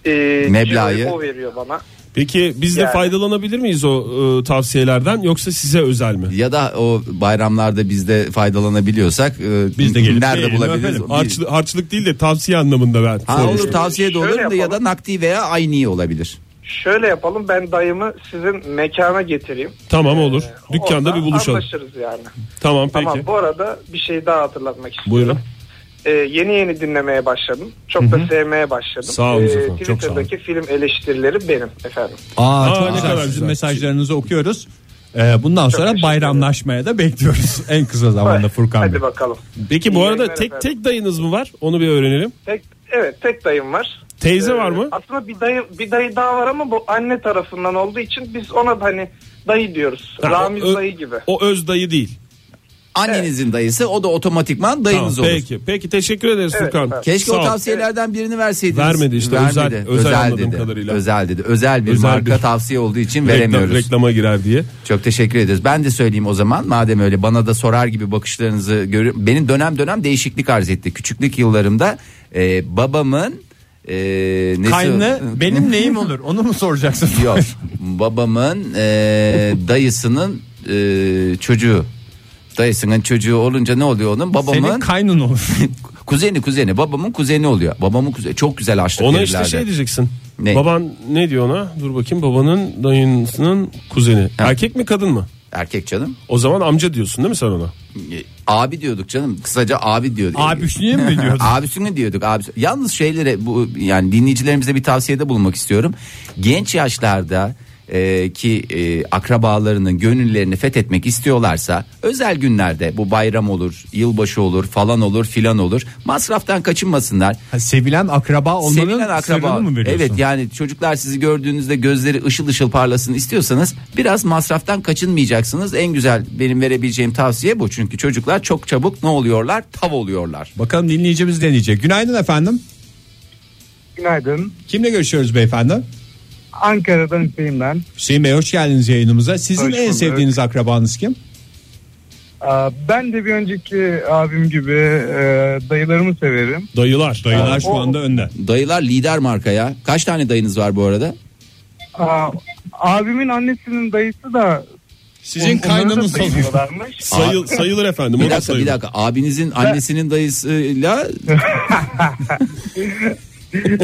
F: e,
C: Meblağı.
F: ciroyu o veriyor bana.
D: Peki biz de
F: Yani.
D: faydalanabilir miyiz o e, tavsiyelerden yoksa size özel mi?
C: Ya da o bayramlarda biz de faydalanabiliyorsak e,
B: Biz de gelip
C: nerede
D: şey,
B: yiyelim
C: bulabiliriz? Bir-
D: Harçlı- harçlık değil de tavsiye anlamında ben
C: Ha,
D: sormuştum.
C: olur tavsiye de
F: Şöyle
C: olur da ya da
F: yapalım.
C: nakdi veya ayni olabilir.
F: Şöyle yapalım ben dayımı sizin mekana getireyim.
D: Tamam olur.
F: Ee,
D: Dükkanda
F: orada
D: bir buluşalım.
F: Anlaşırız yani.
D: Tamam peki.
F: Tamam bu arada bir şey daha hatırlatmak istiyorum.
D: Buyurun.
F: Ee, yeni yeni dinlemeye başladım. Çok da sevmeye başladım. Ee,
D: Sağ olun efendim, çok sağ olun.
F: Twitter'daki film eleştirileri benim efendim.
B: Aa,
D: Aa,
B: çok
D: ne
B: güzel.
D: kadar
B: Sizin
D: güzel.
B: mesajlarınızı okuyoruz. Ee, bundan sonra
F: teşekkür
B: bayramlaşmaya da bekliyoruz en kısa zamanda
F: Evet,
B: Furkan Bey.
F: Hadi bakalım.
D: Peki
F: İyi
D: bu arada
F: yayınlar
D: tek
F: efendim.
D: tek dayınız mı var? Onu bir öğrenelim.
F: Tek, evet tek dayım var.
D: Teyze
F: Ee,
D: var mı?
F: Aslında bir dayı bir dayı daha var ama bu anne tarafından olduğu için biz ona da hani dayı diyoruz.
D: Ha,
F: Ramiz
D: o-
F: dayı gibi.
D: O öz dayı değil.
C: Annenizin dayısı o da otomatikman dayınız
D: Tamam,
C: olur.
D: peki. Peki teşekkür ederiz
F: Evet,
D: Furkan.
F: evet.
C: Keşke
D: Sağ
C: o
D: ol.
C: tavsiyelerden birini verseydiniz.
D: Vermedi işte, özel- özel anladığım kadarıyla.
C: Özel dedi. Özel bir
D: Özel
C: marka
D: bir-
C: tavsiye olduğu için
D: Reklam,
C: veremiyoruz.
D: reklama girer diye.
C: Çok teşekkür ederiz. Ben de söyleyeyim o zaman. Madem öyle bana da sorar gibi bakışlarınızı görüyorum. Benim dönem dönem değişiklik arz etti. Küçüklük yıllarımda e, babamın e, nesi-
B: Kaynı benim neyim olur onu mu soracaksın?
C: Yok. Babamın e, dayısının e, çocuğu. Dayısının çocuğu olunca ne oluyor onun?
B: Senin
C: Babamın
B: kaynın olur.
C: kuzeni kuzeni. Babamın kuzeni oluyor. Babamın kuzeni. Çok güzel açlık
D: Ona
C: verirlerdi.
D: işte şey diyeceksin.
C: Ne?
D: Baban ne diyor ona? Dur bakayım babanın dayısının kuzeni. Erkek mi kadın mı?
C: Erkek canım.
D: O zaman amca diyorsun değil mi sen ona?
C: E, Abi diyorduk canım. Kısaca abi diyorduk.
B: Abüsnüye mi diyordun?
C: Abisini diyorduk. Abisi. Yalnız şeylere bu yani dinleyicilerimize bir tavsiyede bulunmak istiyorum. Genç yaşlarda e, ki e, akrabalarının gönüllerini fethetmek istiyorlarsa özel günlerde bu bayram olur, yılbaşı olur, falan olur, filan olur. Masraftan kaçınmasınlar.
B: Ha, Sevilen akraba olmanın
C: Sevilen akraba.
B: sırrını mı veriyorsun?
C: Evet yani çocuklar sizi gördüğünüzde gözleri ışıl ışıl parlasın istiyorsanız biraz masraftan kaçınmayacaksınız. En güzel benim verebileceğim tavsiye bu. Çünkü çocuklar çok çabuk ne oluyorlar? Tav oluyorlar.
B: Bakalım dinleyicimiz ne diyecek. Günaydın efendim.
G: Günaydın.
B: Kimle görüşüyoruz beyefendi?
G: Ankara'dan Hüseyin ben.
B: Hüseyin Bey hoş geldiniz yayınımıza. Sizin
G: Hoş
B: en
G: bulduk.
B: sevdiğiniz akrabanız kim?
G: Aa, Ben de bir önceki abim gibi e, dayılarımı severim.
D: Dayılar.
B: Dayılar şu
G: o-
B: anda önde.
C: Dayılar lider marka ya. Kaç tane dayınız var bu arada?
G: Aa, Abimin annesinin dayısı da
B: Sizin
G: on- onları da
B: kaynınız olur.
G: sayıyorlarmış.
D: Sayıl, sayılır efendim. o
C: Bir
D: da
C: dakika bir
D: sayılır.
C: dakika. Abinizin annesinin dayısıyla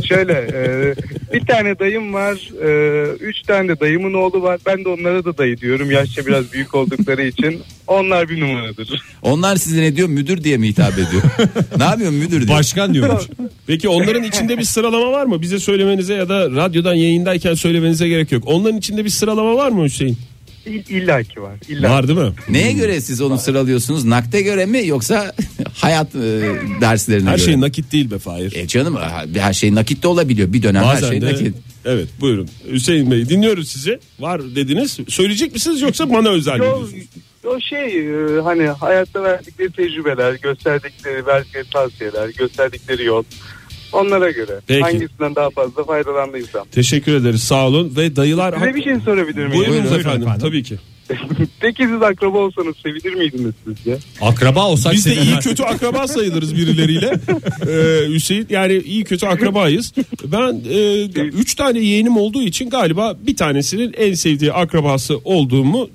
G: Şöyle e, bir tane dayım var, e, üç tane de dayımın oğlu var. Ben de onlara da dayı diyorum yaşça biraz büyük oldukları için. Onlar bir numaradır.
C: onlar size ne diyor? Müdür diye mi hitap ediyor? ne yapıyorsun müdür diyor.
B: Başkan diyormuş.
D: Peki onların içinde bir sıralama var mı? Bize söylemenize ya da radyodan yayındayken söylemenize gerek yok. Onların içinde bir sıralama var mı Hüseyin?
G: İlla ki var. illa.
D: Var değil mi?
C: Neye göre siz onu sıralıyorsunuz? Nakde göre mi yoksa hayat e, derslerine
D: Her
C: göre?
D: şey
C: mi?
D: nakit değil be Fahir.
C: E canım her şey nakit de olabiliyor. Bir dönem her
D: Bazen
C: şey
D: de
C: nakit.
D: evet buyurun Hüseyin Bey dinliyoruz sizi var dediniz söyleyecek misiniz yoksa bana özel mi
G: O,
D: diyorsunuz?
G: o şey e, hani hayatta verdikleri tecrübeler, gösterdikleri verdikleri tavsiyeler, gösterdikleri yol. Onlara göre
D: Peki.
G: hangisinden daha fazla faydalandıysam.
D: Teşekkür ederiz sağ olun ve dayılar
G: Size bir şey sorabilir miyim?
D: Buyurunuz
B: Buyurun, buyurun
D: efendim,
B: efendim.
D: tabii ki.
G: Peki siz akraba olsanız sevinir miydiniz sizce?
B: Akraba olsak
D: Biz de
B: sevinmez.
D: iyi kötü akraba sayılırız birileriyle. Ee, Hüseyin yani iyi kötü akrabayız. Ben e, üç tane yeğenim olduğu için galiba bir tanesinin en sevdiği akrabası olduğumu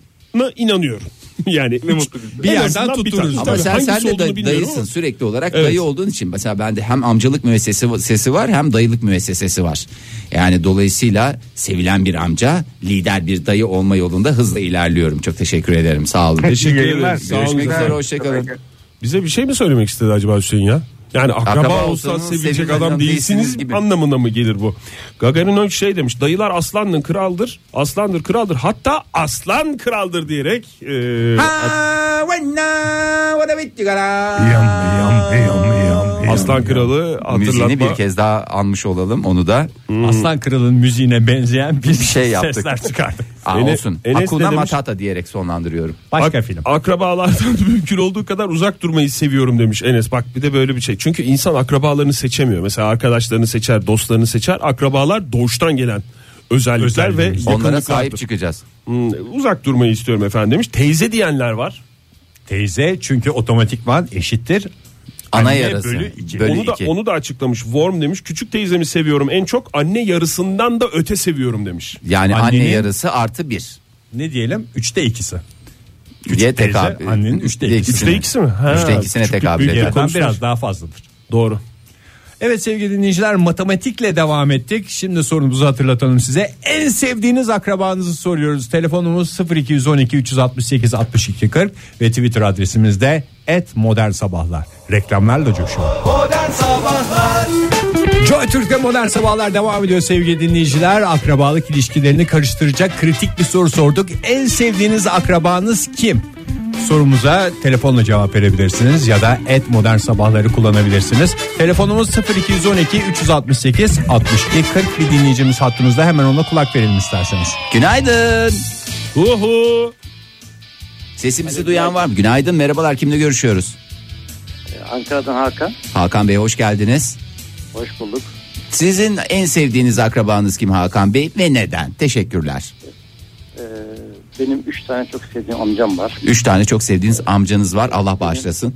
D: inanıyorum. Yani
G: Ne
D: üç-
G: mutlu bize.
B: Bir
D: en
B: yerden
D: azından bir
B: tuttururuz
D: tane.
C: Ama
D: Tabii,
C: sen
D: hangisi
C: sen de
D: olduğunu
C: day-
D: bilmiyorum
C: dayısın
D: ama-
C: sürekli olarak
D: Evet.
C: dayı olduğun için mesela bende hem amcalık müessesesi sesi var hem dayılık müessesesi var. Yani dolayısıyla sevilen bir amca lider bir dayı olma yolunda hızla ilerliyorum. Çok teşekkür ederim sağ olun.
D: Teşekkür
G: İyi yayınlar.
D: ederim. Sağ olun.
C: Görüşmek üzere hoşçakalın.
G: Teşekkür.
D: Bize bir şey mi söylemek istedi acaba Hüseyin ya? Yani akraba,
C: Akraba
D: olsan
C: olsanız
D: sevilecek
C: sevilen
D: adam
C: adam
D: değilsiniz
C: değilsiniz gibi.
D: anlamına mı gelir bu? Gagarin Önç şey demiş dayılar aslanın kraldır aslandır kraldır hatta aslan kraldır diyerek e, aslan kralı
C: Müziğini bir
D: hatırlatma
C: kez daha anmış olalım onu da.
D: Hmm.
B: Aslan Kral'ın müziğine benzeyen bir
C: şey yaptık.
B: sesler çıkardık.
C: Aa,
D: Enes-
C: olsun.
D: Enes ne
C: Hakuna
D: demiş?
C: Matata diyerek sonlandırıyorum.
B: Başka
D: Ak-
B: film.
D: Akrabalardan mümkün olduğu kadar uzak durmayı seviyorum demiş Enes. Bak bir de böyle bir şey. Çünkü insan akrabalarını seçemiyor. Mesela arkadaşlarını seçer, dostlarını seçer. Akrabalar doğuştan gelen özellikler, ve
B: Özelliklerimiz.
C: Onlara
D: yakınlık
C: sahip
D: vardır.
C: çıkacağız.
D: Hmm, uzak durmayı istiyorum efendim demiş. Teyze diyenler var.
B: Teyze çünkü otomatikman eşittir.
C: Ana
B: Anne
C: yarası.
B: bölü iki.
C: Bölü
D: onu da
C: iki.
D: onu da açıklamış. Worm demiş. Küçük teyzemi seviyorum en çok. Anne yarısından da öte seviyorum demiş.
C: Yani anne
B: Annenin-
C: yarısı artı bir.
B: Ne diyelim? Üçte ikisi.
C: Diye
B: teyze,
C: tekabül-
B: annenin üçte
C: Üçte
B: ikisi.
D: Üçte ikisi mi? Ha,
C: Üçte ikisine
D: küçüklük
C: tekabül
D: büyüklük
C: ediyor.
B: Yerden
D: konusunda-
B: biraz daha fazladır.
D: Doğru.
B: Evet sevgili dinleyiciler matematikle devam ettik. Şimdi sorumuzu hatırlatalım size. En sevdiğiniz akrabanızı soruyoruz. Telefonumuz 0212 368 62 40 ve Twitter adresimiz de @modernsabahlar. Reklamlarla coşuyor.
E: Modern Sabahlar
B: Joy Türk'te modern sabahlar devam ediyor sevgili dinleyiciler. Akrabalık ilişkilerini karıştıracak kritik bir soru sorduk. En sevdiğiniz akrabanız kim? Sorumuza telefonla cevap verebilirsiniz ya da et modern sabahları kullanabilirsiniz. Telefonumuz 0212 368 62 40 bir dinleyicimiz hattımızda hemen ona kulak verelim isterseniz.
C: Günaydın.
D: Uhu.
C: Sesimizi duyan var mı? Günaydın merhabalar kimle görüşüyoruz?
H: Ee, Ankara'dan Hakan.
C: Hakan Bey hoş geldiniz.
H: Hoş bulduk.
C: Sizin en sevdiğiniz akrabanız kim Hakan Bey ve neden? Teşekkürler.
H: Ee, benim üç tane çok sevdiğim amcam var.
C: Üç tane çok sevdiğiniz amcanız var Allah bağışlasın.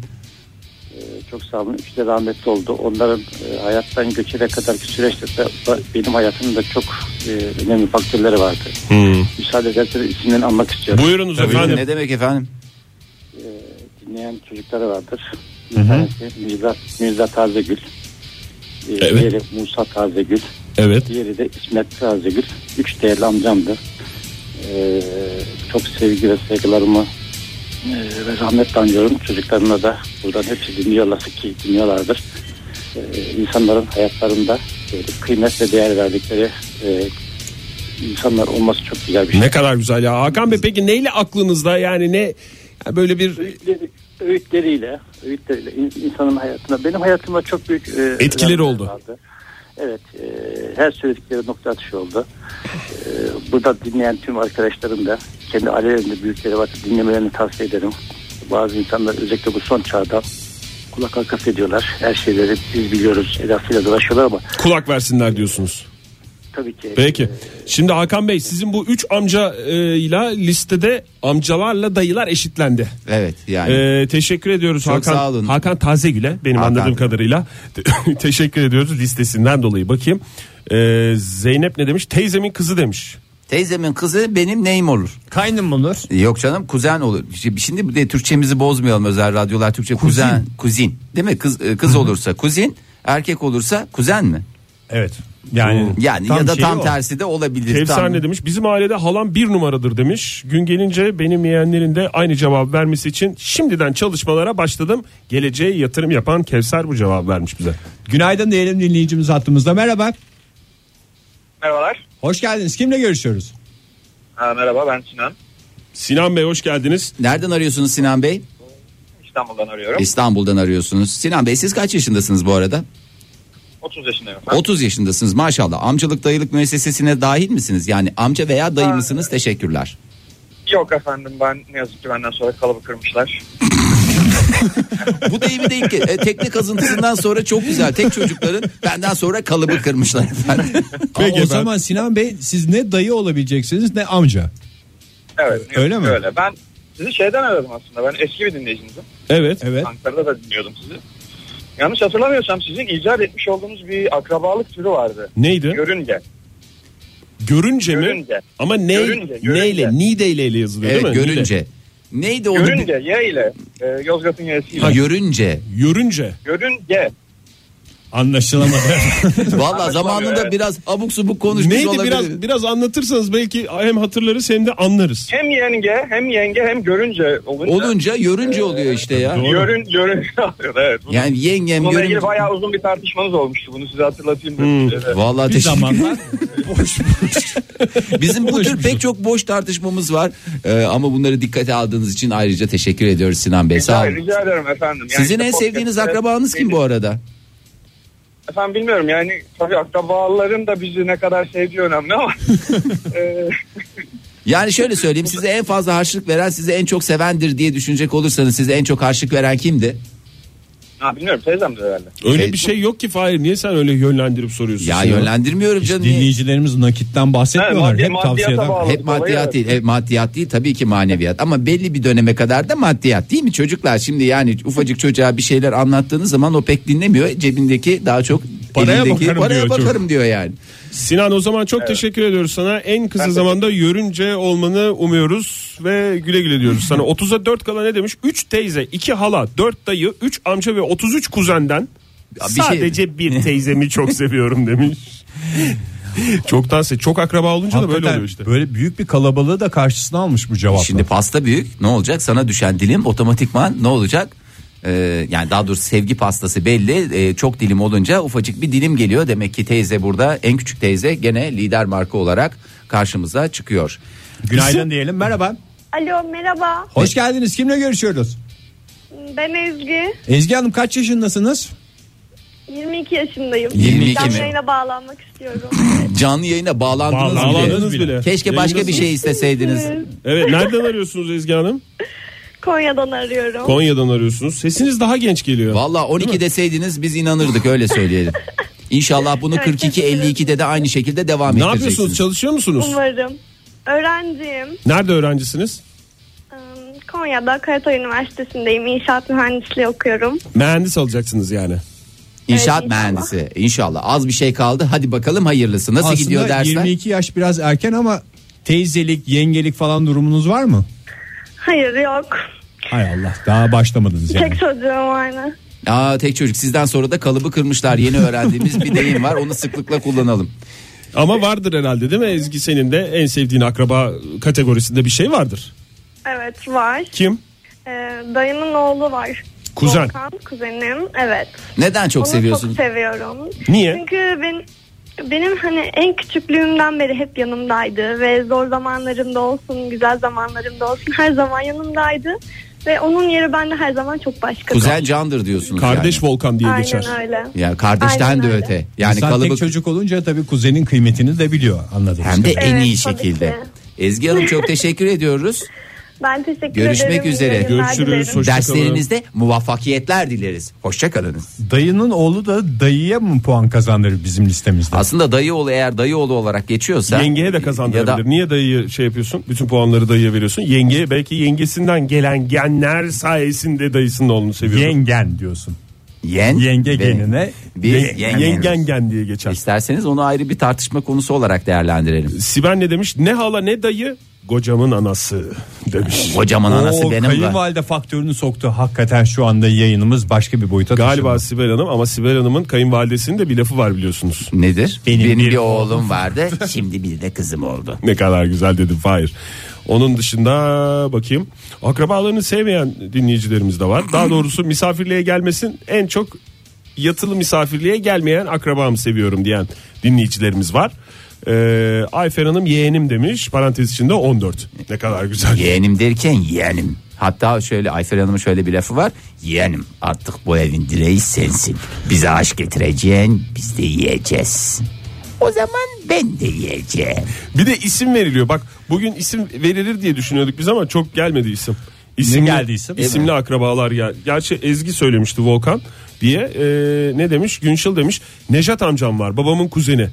H: Ee, çok sağ olun. Üçü de rahmetli oldu. Onların e, hayattan göçene kadarki süreçte de ba- benim hayatımda çok e, önemli faktörleri vardı. Müsaade ederseniz isimlerini anmak istiyorum.
D: Buyurunuz efendim.
C: Ne demek efendim?
H: Dinleyen çocukları vardır. Bir tanesi Mirza, Mirza Tazegül. Ee, Diğeri Musa Tazegül.
D: Evet.
H: Diğeri de İsmet Tazegül. Üç değerli amcamdı. Ee, çok sevgi ve saygılarımı e, ve rahmetle anıyorum. Çocuklarına da buradan hepsi dinliyorlar ki dinliyorlardır. Ee, insanların hayatlarında böyle kıymet ve değer verdikleri e, insanlar olması çok güzel bir şey.
D: Ne kadar güzel ya. Hakan Bey peki neyle aklınızda yani ne yani böyle bir
H: Öğütleri- öğütleriyle, öğütleriyle in- insanın hayatına benim hayatımda çok büyük e,
D: Etkileri
H: önemler
D: oldu.
H: vardı. Evet, e, her söyledikleri nokta atışı oldu. E, burada dinleyen tüm arkadaşlarım da kendi ailelerinde büyükleri varsa dinlemelerini tavsiye ederim. Bazı insanlar özellikle bu son çağda kulak arkası ediyorlar. Her şeyleri biz biliyoruz. Edasıyla dolaşıyorlar ama
D: kulak versinler diyorsunuz.
H: tabii ki
D: Peki. Şimdi Hakan Bey sizin bu üç amca e, ile listede amcalarla dayılar eşitlendi.
C: Evet yani.
D: Ee, teşekkür ediyoruz
C: Çok
D: Hakan.
C: sağ olun.
D: Hakan Tazegül'e benim
C: Hakan.
D: anladığım kadarıyla Te- teşekkür ediyoruz listesinden dolayı bakayım. Ee, Zeynep ne demiş? Teyzemin kızı demiş.
C: Teyzemin kızı benim neyim olur?
B: Kaynım olur.
C: Yok canım kuzen olur. Şimdi- Şimdi bir de Türkçemizi bozmayalım özel radyolar Türkçe kuzen kuzin değil mi? Kız e, kız olursa kuzin, erkek olursa kuzen mi?
B: Evet. Yani
C: Yani
B: tam
C: ya da
B: şeyi
C: tam
B: o.
C: tersi de olabilir.
D: Kevser
C: Tam-
D: ne demiş? Bizim ailede halam bir numaradır demiş. Gün gelince benim yeğenlerin de aynı cevap vermesi için şimdiden çalışmalara başladım. Geleceğe yatırım yapan Kevser bu cevap vermiş bize.
B: Günaydın diyelim dinleyicimiz hattımızda. Merhaba.
F: Merhabalar.
B: Hoş geldiniz. Kimle görüşüyoruz?
F: Ha, merhaba ben Sinan.
D: Sinan Bey hoş geldiniz.
C: Nereden arıyorsunuz Sinan Bey?
F: İstanbul'dan arıyorum.
C: İstanbul'dan arıyorsunuz. Sinan Bey siz kaç yaşındasınız bu arada?
F: 30 yaşındayım.
C: 30 yaşındasınız maşallah. Amcalık dayılık müessesesine dahil misiniz? Yani amca veya dayı
F: Ha.
C: mısınız? Teşekkürler.
F: Yok efendim ben ne yazık ki benden sonra kalıbı kırmışlar.
C: Bu deyimi değil ki. E, tekne azıntısından sonra çok güzel. Tek çocukların benden sonra kalıbı kırmışlar efendim.
B: Aa, o zaman Sinan Bey siz ne dayı olabileceksiniz ne amca.
F: Evet. ne
B: Öyle
F: yazık
B: mi?
F: ki Öyle. Ben sizi şeyden aradım aslında. Ben eski bir dinleyicinizim.
D: Evet.
B: Evet.
F: Ankara'da da dinliyordum sizi. Yanlış hatırlamıyorsam sizin icat etmiş olduğunuz bir akrabalık türü vardı.
D: Neydi?
F: Görünge.
D: Görünce mi?
F: Görünce.
D: Ama ne,
F: Görünce, görünce.
D: neyle? Nideyle ile yazılıyor
C: evet
D: değil mi? Nide.
C: görünce. Neydi onu?
F: Görünge Y ile. E, Yozgat'ın Y'si
C: Ha,
F: ile.
C: görünce.
D: Yörünce.
F: Görünge.
B: Anlaşılamadı.
C: Vallahi zamanında
F: evet.
C: biraz abuk subuk konuşmuş
D: Neydi
C: olabilir.
D: biraz biraz anlatırsanız belki hem hatırlarız hem de anlarız.
F: Hem yenge hem yenge hem görünce olunca.
C: Olunca yörünce oluyor işte ya.
D: Doğru.
F: Görün, görünce alıyor. Evet. Bunu-
C: Yani yengem
F: Bununla
C: görünce.
F: ilgili bayağı uzun bir tartışmanız olmuştu. Bunu size hatırlatayım. dedim. Evet.
C: Vallahi
B: bir
C: teşekkür-
B: zamanlar boş
C: Bizim bu tür pek çok boş tartışmamız var. Ee, ama bunları dikkate aldığınız için ayrıca teşekkür ediyoruz Sinan Bey. Sağ
F: Rica,
C: olun.
F: rica ederim efendim. Yani
C: Sizin
F: işte
C: en
F: podcast-
C: sevdiğiniz akrabanız kim bu arada?
F: Efendim bilmiyorum yani tabii akrabaların da bizi ne kadar sevdiği önemli ama e,
C: Yani şöyle söyleyeyim size en fazla harçlık veren sizi en çok sevendir diye düşünecek olursanız size en çok harçlık veren kimdi?
F: Ha bilmiyorum teyzem de herhalde.
D: Öyle
C: Evet.
D: bir şey yok ki Fahir. Niye sen öyle yönlendirip soruyorsun?
C: Ya
D: sen?
C: yönlendirmiyorum
B: Hiç
C: canım.
B: dinleyicilerimiz nakitten bahsetmiyorlar.
F: Evet, maddi-
B: Hep tavsiyeden.
F: maddiyata bağlı.
C: Hep maddiyat
F: Olaya-
C: değil. Hep maddiyat değil tabii ki maneviyat. Ama belli bir döneme kadar da maddiyat değil mi çocuklar? Şimdi yani ufacık çocuğa bir şeyler anlattığınız zaman o pek dinlemiyor. Cebindeki daha çok
D: Paraya
C: elindeki
D: bakarım
C: paraya
D: diyor çocuk.
C: bakarım diyor yani.
D: Sinan o zaman çok teşekkür ediyoruz sana. En kısa zamanda yörünce olmanı umuyoruz ve güle güle diyoruz sana. 30'a 4 kala ne demiş? 3 teyze, 2 hala, 4 dayı, 3 amca ve 33 kuzenden
C: Ya bir şey-
D: sadece bir teyzemi çok seviyorum demiş. çok se çok akraba olunca da böyle
B: Hakikaten
D: oluyor işte.
B: Böyle büyük bir kalabalığı da karşısına almış bu cevapla.
C: Şimdi pasta büyük ne olacak sana düşen dilim otomatikman ne olacak? Ee, yani daha doğrusu sevgi pastası belli Ee, çok dilim olunca ufacık bir dilim geliyor demek ki teyze burada en küçük teyze gene lider marka olarak karşımıza çıkıyor.
B: Günaydın diyelim. Merhaba.
I: Alo merhaba
B: Hoş geldiniz. Kimle görüşüyoruz?
I: ben Ezgi
B: Ezgi Hanım kaç yaşındasınız?
I: 22 yaşındayım.
C: 22 mi?
I: Canlı yayına bağlanmak istiyorum.
C: Canlı yayına bağlandınız,
D: Bağlandınız
C: bile.
D: bile.
C: Keşke başka bir şey isteseydiniz.
D: Evet nereden arıyorsunuz Ezgi Hanım?
I: Konya'dan arıyorum.
D: Konya'dan arıyorsunuz. Sesiniz daha genç geliyor.
C: Valla 12 deseydiniz biz inanırdık öyle söyleyelim. İnşallah bunu
I: Evet,
C: 42-52'de de aynı şekilde devam
D: ne
C: edeceksiniz.
D: yapıyorsunuz? Çalışıyor musunuz?
I: Umarım. Öğrenciyim.
D: Nerede öğrencisiniz?
I: Eee, Konya'da Karatay Üniversitesi'ndeyim. İnşaat mühendisliği okuyorum.
D: Mühendis alacaksınız yani.
C: İnşaat
I: Evet, inşallah.
C: mühendisi inşallah. Az bir şey kaldı hadi bakalım hayırlısı. Nasıl
B: Aslında
C: gidiyor dersler?
B: 22 yaş biraz erken ama teyzelik, yengelik falan durumunuz var mı?
I: Hayır yok.
B: Hay Allah daha başlamadınız yani.
I: Tek çocuğum aynı.
C: Aa, tek çocuk sizden sonra da kalıbı kırmışlar yeni öğrendiğimiz bir deyim var onu sıklıkla kullanalım.
D: Ama vardır herhalde değil mi Ezgi senin de en sevdiğin akraba kategorisinde bir şey vardır.
I: Evet var.
D: Kim?
I: Eee, dayımın oğlu var.
D: Kuzen.
I: Volkan, kuzenim evet.
C: Neden çok
I: Onu
C: seviyorsun?
I: çok seviyorum.
D: Niye?
I: Çünkü ben, benim hani en küçüklüğümden beri hep yanımdaydı ve zor zamanlarımda olsun, güzel zamanlarımda olsun her zaman yanımdaydı. Ve onun yeri bende her zaman çok başka.
C: Kuzen candır diyorsunuz
D: Kardeş
C: yani.
D: Volkan diye
I: Aynen
D: geçer.
I: öyle.
C: Ya kardeşten
I: Aynen
C: de
I: öyle.
C: öte. Yani
B: İnsan
C: kalıbı
B: tek çocuk olunca tabii kuzenin kıymetini de biliyor anladığımız
C: hem de en
I: Evet,
C: iyi
I: tabii
C: şekilde.
I: ki.
C: Ezgi Hanım çok teşekkür ediyoruz.
I: Ben teşekkür
C: Görüşmek
I: ederim.
C: üzere.
I: İyi yayınlar
D: Görüşürüz.
I: dilerim.
D: Hoşça kalın.
C: Derslerinizde muvaffakiyetler dileriz. Hoşçakalınız.
B: Dayının oğlu da dayıya mı puan kazandırır bizim listemizde?
C: Aslında dayı oğlu eğer dayı oğlu olarak geçiyorsa
D: Yengeye de kazandırabilir.
C: Ya da
D: Niye dayıya şey yapıyorsun? Bütün puanları dayıya veriyorsun. Yengeye belki yengesinden gelen genler sayesinde dayısının oğlunu seviyor.
B: Yengen diyorsun.
C: yen
B: Yenge
C: ve-
B: genine
C: biz
D: Yengen
C: yengen.
D: yengen gen diye geçer.
C: İsterseniz onu ayrı bir tartışma konusu olarak değerlendirelim.
D: Sibel ne demiş? Ne hala ne dayı? Kocamın anası demiş.
C: Kocaman anası
B: Oo,
C: benim de.
B: kayınvalide faktörünü soktu. Hakikaten şu anda yayınımız başka bir boyuta
D: Galiba
B: taşındı.
D: Sibel Hanım ama Sibel Hanım'ın kayınvalidesinin de bir lafı var biliyorsunuz.
C: Nedir?
B: Benim
C: Benim,
B: bir
C: bir, oğlum vardı. Şimdi bir de kızım oldu.
D: Ne kadar güzel dedim Fahir. Onun dışında bakayım akrabalarını sevmeyen dinleyicilerimiz de var. Daha doğrusu misafirliğe gelmesin en çok yatılı misafirliğe gelmeyen akrabamı seviyorum diyen dinleyicilerimiz var. Ee, Ayfer Hanım yeğenim demiş parantez içinde 14 ne kadar güzel.
C: Yeğenim derken yeğenim. Hatta şöyle Ayfer Hanım'ın şöyle bir lafı var. Yeğenim artık bu evin direği sensin. Bize aşk getireceksin biz de yiyeceğiz. O zaman ben de yiyeceğim.
D: Bir de isim veriliyor bak bugün isim verilir diye düşünüyorduk biz ama çok gelmedi isim. İsimli,
B: geldi isim?
D: İsimli akrabalar ya. Gerçi Ezgi söylemişti Volkan diye. Ee, ne demiş? Günşil demiş. Nejat amcam var babamın kuzeni.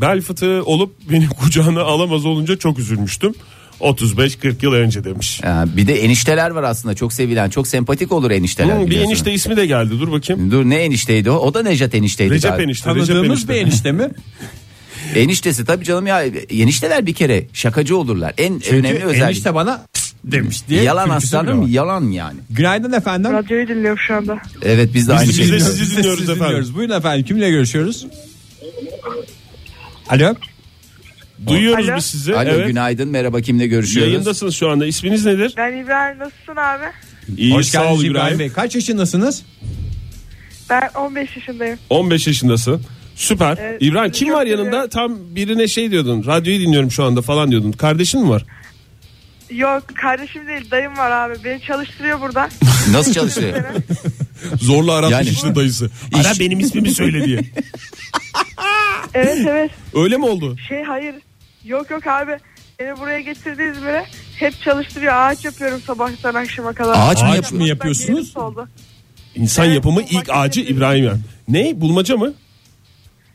D: Bel fıtığı olup beni kucağına alamaz olunca çok üzülmüştüm. 35-40 yıl önce demiş.
C: Ee, bir de enişteler var aslında çok sevilen çok sempatik olur enişteler.
D: Hmm, bir
C: biliyorsun.
D: enişte ismi de geldi dur bakayım.
C: Dur ne enişteydi o? O da Nejat enişteydi.
D: Recep
C: galiba.
D: enişte. Recep
B: Tanıdığımız
D: enişte.
B: bir enişte mi?
C: Eniştesi tabii canım ya enişteler bir kere şakacı olurlar. En önemli özellik.
B: Enişte bana "Pst!" demiş diye.
C: yalan
B: türküsü bile
C: aslanım
B: var.
C: yalan yani.
B: Günaydın efendim.
J: Radyoyu dinliyorum şu anda.
C: Evet biz de aynı
D: biz
C: şeyi.
D: de
C: diyoruz.
D: sizi dinliyoruz
B: sizi
D: efendim.
B: Buyurun efendim kimle görüşüyoruz? Alo.
D: Duyuyoruz
J: Alo.
D: biz sizi.
C: Alo
D: evet.
C: günaydın merhaba kimle görüşüyoruz?
D: Yayındasınız şu anda. İsminiz nedir?
J: Ben İbrahim nasılsın abi?
D: İyi
B: Hoş
D: sağ ol
B: geldiniz
D: İbrahim.
B: İbrahim Bey. Kaç yaşındasınız?
J: Ben 15 yaşındayım.
D: 15 yaşındasın. Süper.
J: Evet,
D: İbrahim
J: sizi
D: kim
J: çok
D: var yanında?
J: seviyorum.
D: Tam birine şey diyordun. Radyoyu dinliyorum şu anda falan diyordun. Kardeşin mi var?
J: Yok kardeşim değil dayım var abi. Beni çalıştırıyor burada.
C: Nasıl çalışıyor?
D: Zorla aratmış
C: Yani-
D: işte dayısı. Ara benim ismimi söyle diye.
J: evet evet.
D: Öyle mi oldu?
J: Şey hayır. Yok yok abi. Beni buraya getirdi İzmir'e. Hep çalıştırıyor. Ağaç yapıyorum sabahtan akşama kadar.
C: Ağaç mı
J: Sabahtan
C: yap- mı
J: beri
B: yapıyorsunuz?
J: oldu.
D: İnsan yapımı ilk ağacı İbrahim Yer. Ne? Bulmaca mı?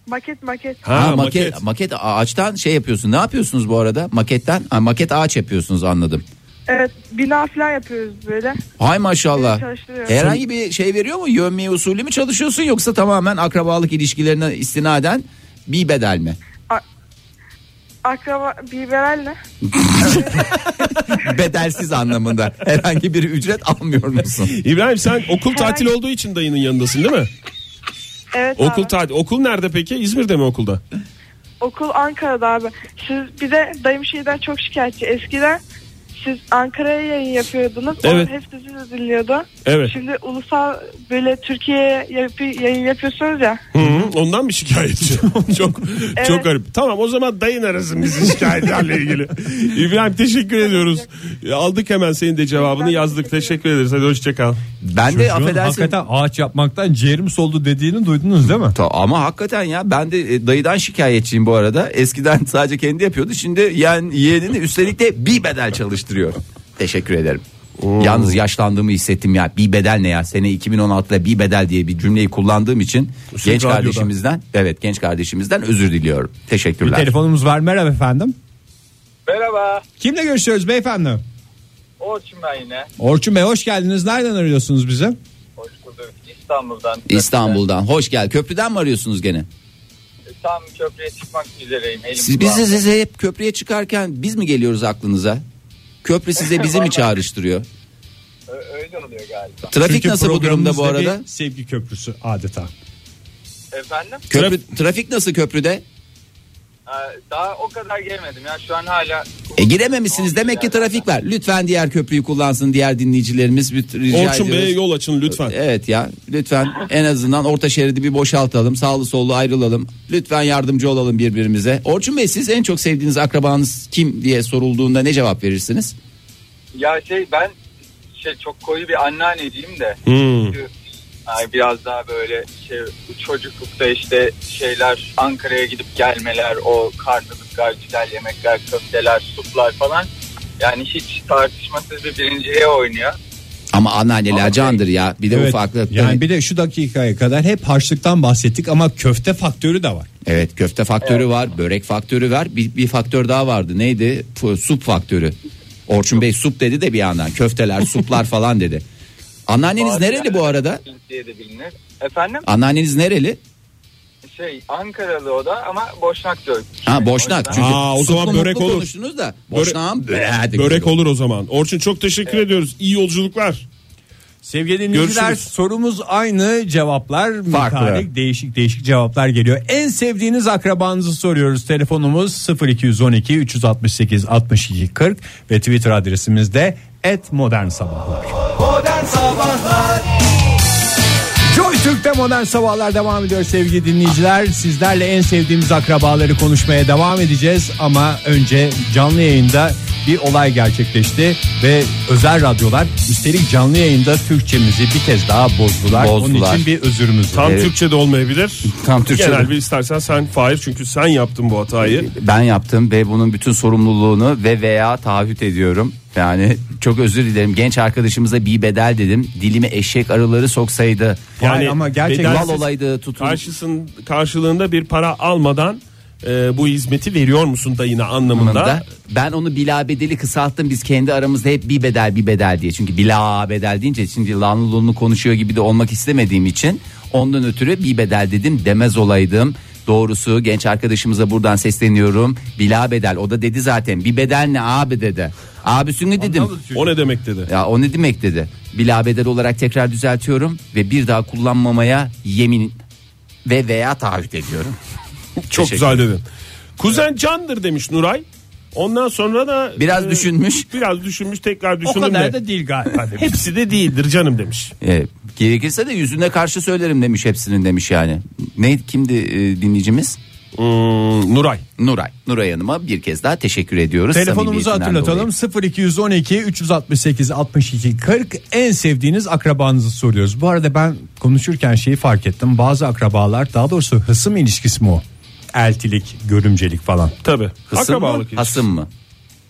J: Maket maket.
C: Ha, maket. maket ağaçtan şey yapıyorsun. Ne yapıyorsunuz bu arada? Maketten ha, maket ağaç yapıyorsunuz anladım.
J: Evet bina falan yapıyoruz böyle.
C: Hay maşallah.
J: Çalıştırıyorum.
C: Herhangi bir şey veriyor mu? Yönmeye usulü mü çalışıyorsun yoksa tamamen akrabalık ilişkilerine istinaden bir bedel mi?
J: Akraba biberelle.
C: Bedelsiz anlamında. Herhangi bir ücret almıyor musun?
D: İbrahim sen okul tatili olduğu için dayının yanındasın değil mi?
J: Evet abi.
D: Okul tatil. Okul nerede peki? İzmir'de mi okulda?
J: Okul Ankara'da abi. Siz bir de dayım şeyden çok şikayetçi. Eskiden siz Ankara'ya yayın yapıyordunuz.
D: Evet.
J: Evet. Hep sizi de dinliyordu.
D: Evet.
J: Şimdi ulusal böyle Türkiye'ye yapı- yayın yapıyorsunuz ya.
D: Hı hı, ondan bir şikayetçi. çok
J: Evet.
D: çok garip. Tamam o zaman dayın arasın bizi şikayetlerle ilgili. İbrahim teşekkür ediyoruz. Aldık hemen senin de cevabını yazdık. Teşekkür ederiz. Hadi hoşçakal.
C: Ben de affedersin.
B: Hakikaten ağaç yapmaktan ciğerim soldu dediğini duydunuz değil mi?
C: Ta- ama hakikaten ya ben de e, dayıdan şikayetçiyim bu arada. Eskiden sadece kendi yapıyordu. Şimdi yeğen, yeğenini üstelik de bir bedel çalıştırıyor. Teşekkür ederim. Yalnız yaşlandığımı hissettim ya. Bir bedel ne ya? Sene 2016'da bir bedel diye bir cümleyi kullandığım için
B: Üstelik
C: genç
B: radyoda.
C: kardeşimizden evet genç kardeşimizden özür diliyorum.
B: Bir
C: Teşekkürler.
B: telefonumuz var. Merhaba efendim.
K: Merhaba.
B: Kimle görüşüyoruz beyefendi?
K: Orçun ben yine.
B: Orçun Bey hoş geldiniz. Nereden arıyorsunuz bizi?
K: Hoş bulduk. İstanbul'dan.
C: İstanbul'dan hoş gel. Köprüden mi arıyorsunuz gene?
K: Ee, Tam köprüye çıkmak üzereyim. Elim
C: Siz biz
K: kulağımda.
C: size hep köprüye çıkarken biz mi geliyoruz aklınıza? Köprü size bizi mi
K: Vallahi.
C: çağrıştırıyor?
K: Ö- Öyle oluyor galiba.
C: Trafik
B: Çünkü
C: nasıl bu durumda bu
B: programımızda
C: arada?
B: bir sevgi köprüsü adeta.
K: Efendim?
C: Köprü, trafik nasıl köprüde?
K: Ee, Daha o kadar gelmedim ya. Şu an hala
C: E girememişsiniz demek ki trafik var. Lütfen diğer köprüyü kullansın diğer dinleyicilerimiz bir- rica
D: Orçun
C: ediyoruz.
D: Bey'e yol açın lütfen.
C: Evet ya lütfen en azından orta şeridi bir boşaltalım. Sağlı sollu ayrılalım. Lütfen yardımcı olalım birbirimize. Orçun Bey siz en çok sevdiğiniz akrabanız kim diye sorulduğunda ne cevap verirsiniz?
K: ya şey ben şey çok koyu bir anneanne diyeyim de.
D: Hmm.
K: Çünkü, ay, biraz daha böyle şey bu çocuklukta işte şeyler Ankara'ya gidip gelmeler, o karnılıklar, güzel yemekler, köfteler, suplar falan. Yani hiç tartışmasız bir birinciliğe oynuyor.
C: Ama anneanneler candır ya. Bir de
B: Evet,
C: ufaklık.
B: Yani bir de şu dakikaya kadar hep harçlıktan bahsettik ama köfte faktörü de var.
C: Evet köfte faktörü var, börek faktörü var. Bir, bir faktör daha vardı. Neydi? F- Sup faktörü. Orçun Bey sup dedi de bir yandan. Köfteler, suplar falan dedi. Anneanneniz
K: Bazı
C: nereli bu arada?
K: diye de bilinir. Efendim?
C: Anneanneniz nereli?
K: Şey Ankaralı o da ama Boşnak diyor.
C: Ha boşnak. Çünkü
D: Aa, o zaman
C: suplu
D: börek
C: mutlu
D: olur.
C: konuştunuz da boşnağın böreği de
D: Börek
C: güzel
D: olur o zaman. Orçun çok teşekkür ediyoruz. İyi yolculuklar.
B: Sevgili dinleyiciler
D: Görüşürüz.
B: sorumuz aynı cevaplar
C: Farklı.
B: mütarek, değişik değişik cevaplar geliyor. En sevdiğiniz akrabanızı soruyoruz. Telefonumuz 0212 368 62 40 ve Twitter adresimiz de @modernsabahlar.
E: Modern Sabahlar
B: Joy Türk'te modern sabahlar devam ediyor sevgili dinleyiciler. Sizlerle en sevdiğimiz akrabaları konuşmaya devam edeceğiz. Ama önce canlı yayında bir olay gerçekleşti ve özel radyolar üstelik canlı yayında Türkçemizi bir kez daha bozdular.
C: Bozdular.
B: Onun için bir özürümüz var.
D: Tam Türkçe de olmayabilir.
C: Tam Türkçe
D: Genel
C: de.
D: bir istersen sen Fahir çünkü sen yaptın bu hatayı.
C: Ben yaptım ve bunun bütün sorumluluğunu ve veya taahhüt ediyorum. Yani çok özür dilerim. Genç arkadaşımıza bir bedel dedim. Dilime eşek arıları soksaydı.
B: Yani ama gerçekten-
C: Mal olaydı tutun.
D: Karşısın, karşılığında bir para almadan e, bu hizmeti veriyor musun dayına
C: anlamında.
D: anlamında.
C: Ben onu bila bedeli kısalttım. Biz kendi aramızda hep bir bedel bir bedel diye. Çünkü bila bedel deyince şimdi lanlılığını konuşuyor gibi de olmak istemediğim için ondan ötürü bir bedel dedim demez olaydım. Doğrusu genç arkadaşımıza buradan sesleniyorum. Bila bedel. O da dedi zaten. Bir bedel ne abi dedi. Abisini dedim.
D: O ne demek dedi.
C: Ya o ne demek dedi. Bila bedel olarak tekrar düzeltiyorum ve bir daha kullanmamaya yemin ve veya taahhüt ediyorum.
D: Çok güzel dedin. Kuzen candır demiş Nuray. Ondan sonra da e,
C: Biraz düşünmüş.
D: Biraz düşünmüş tekrar
B: O
D: düşündüm de.
B: kadar da değil galiba. demiş.
D: Hepsi de değildir canım demiş.
C: E, gerekirse de yüzüne karşı söylerim demiş hepsinin demiş yani. Ne kimdi e, dinleyicimiz?
D: Hmm, Nuray.
C: Nuray. Nuray Hanım'a bir kez daha teşekkür ediyoruz.
B: Telefonumuzu
C: Samimiyetinden
B: hatırlatalım. 0212 368 62 40 en sevdiğiniz akrabanızı soruyoruz. Bu arada ben konuşurken şeyi fark ettim. Bazı akrabalar daha doğrusu hısım ilişkisi mi o? Eltilik, görümcelik falan.
D: Tabii.
C: dolayı. Hısım mı?
D: Akrabalık ilişkisi.
C: Hasım mı?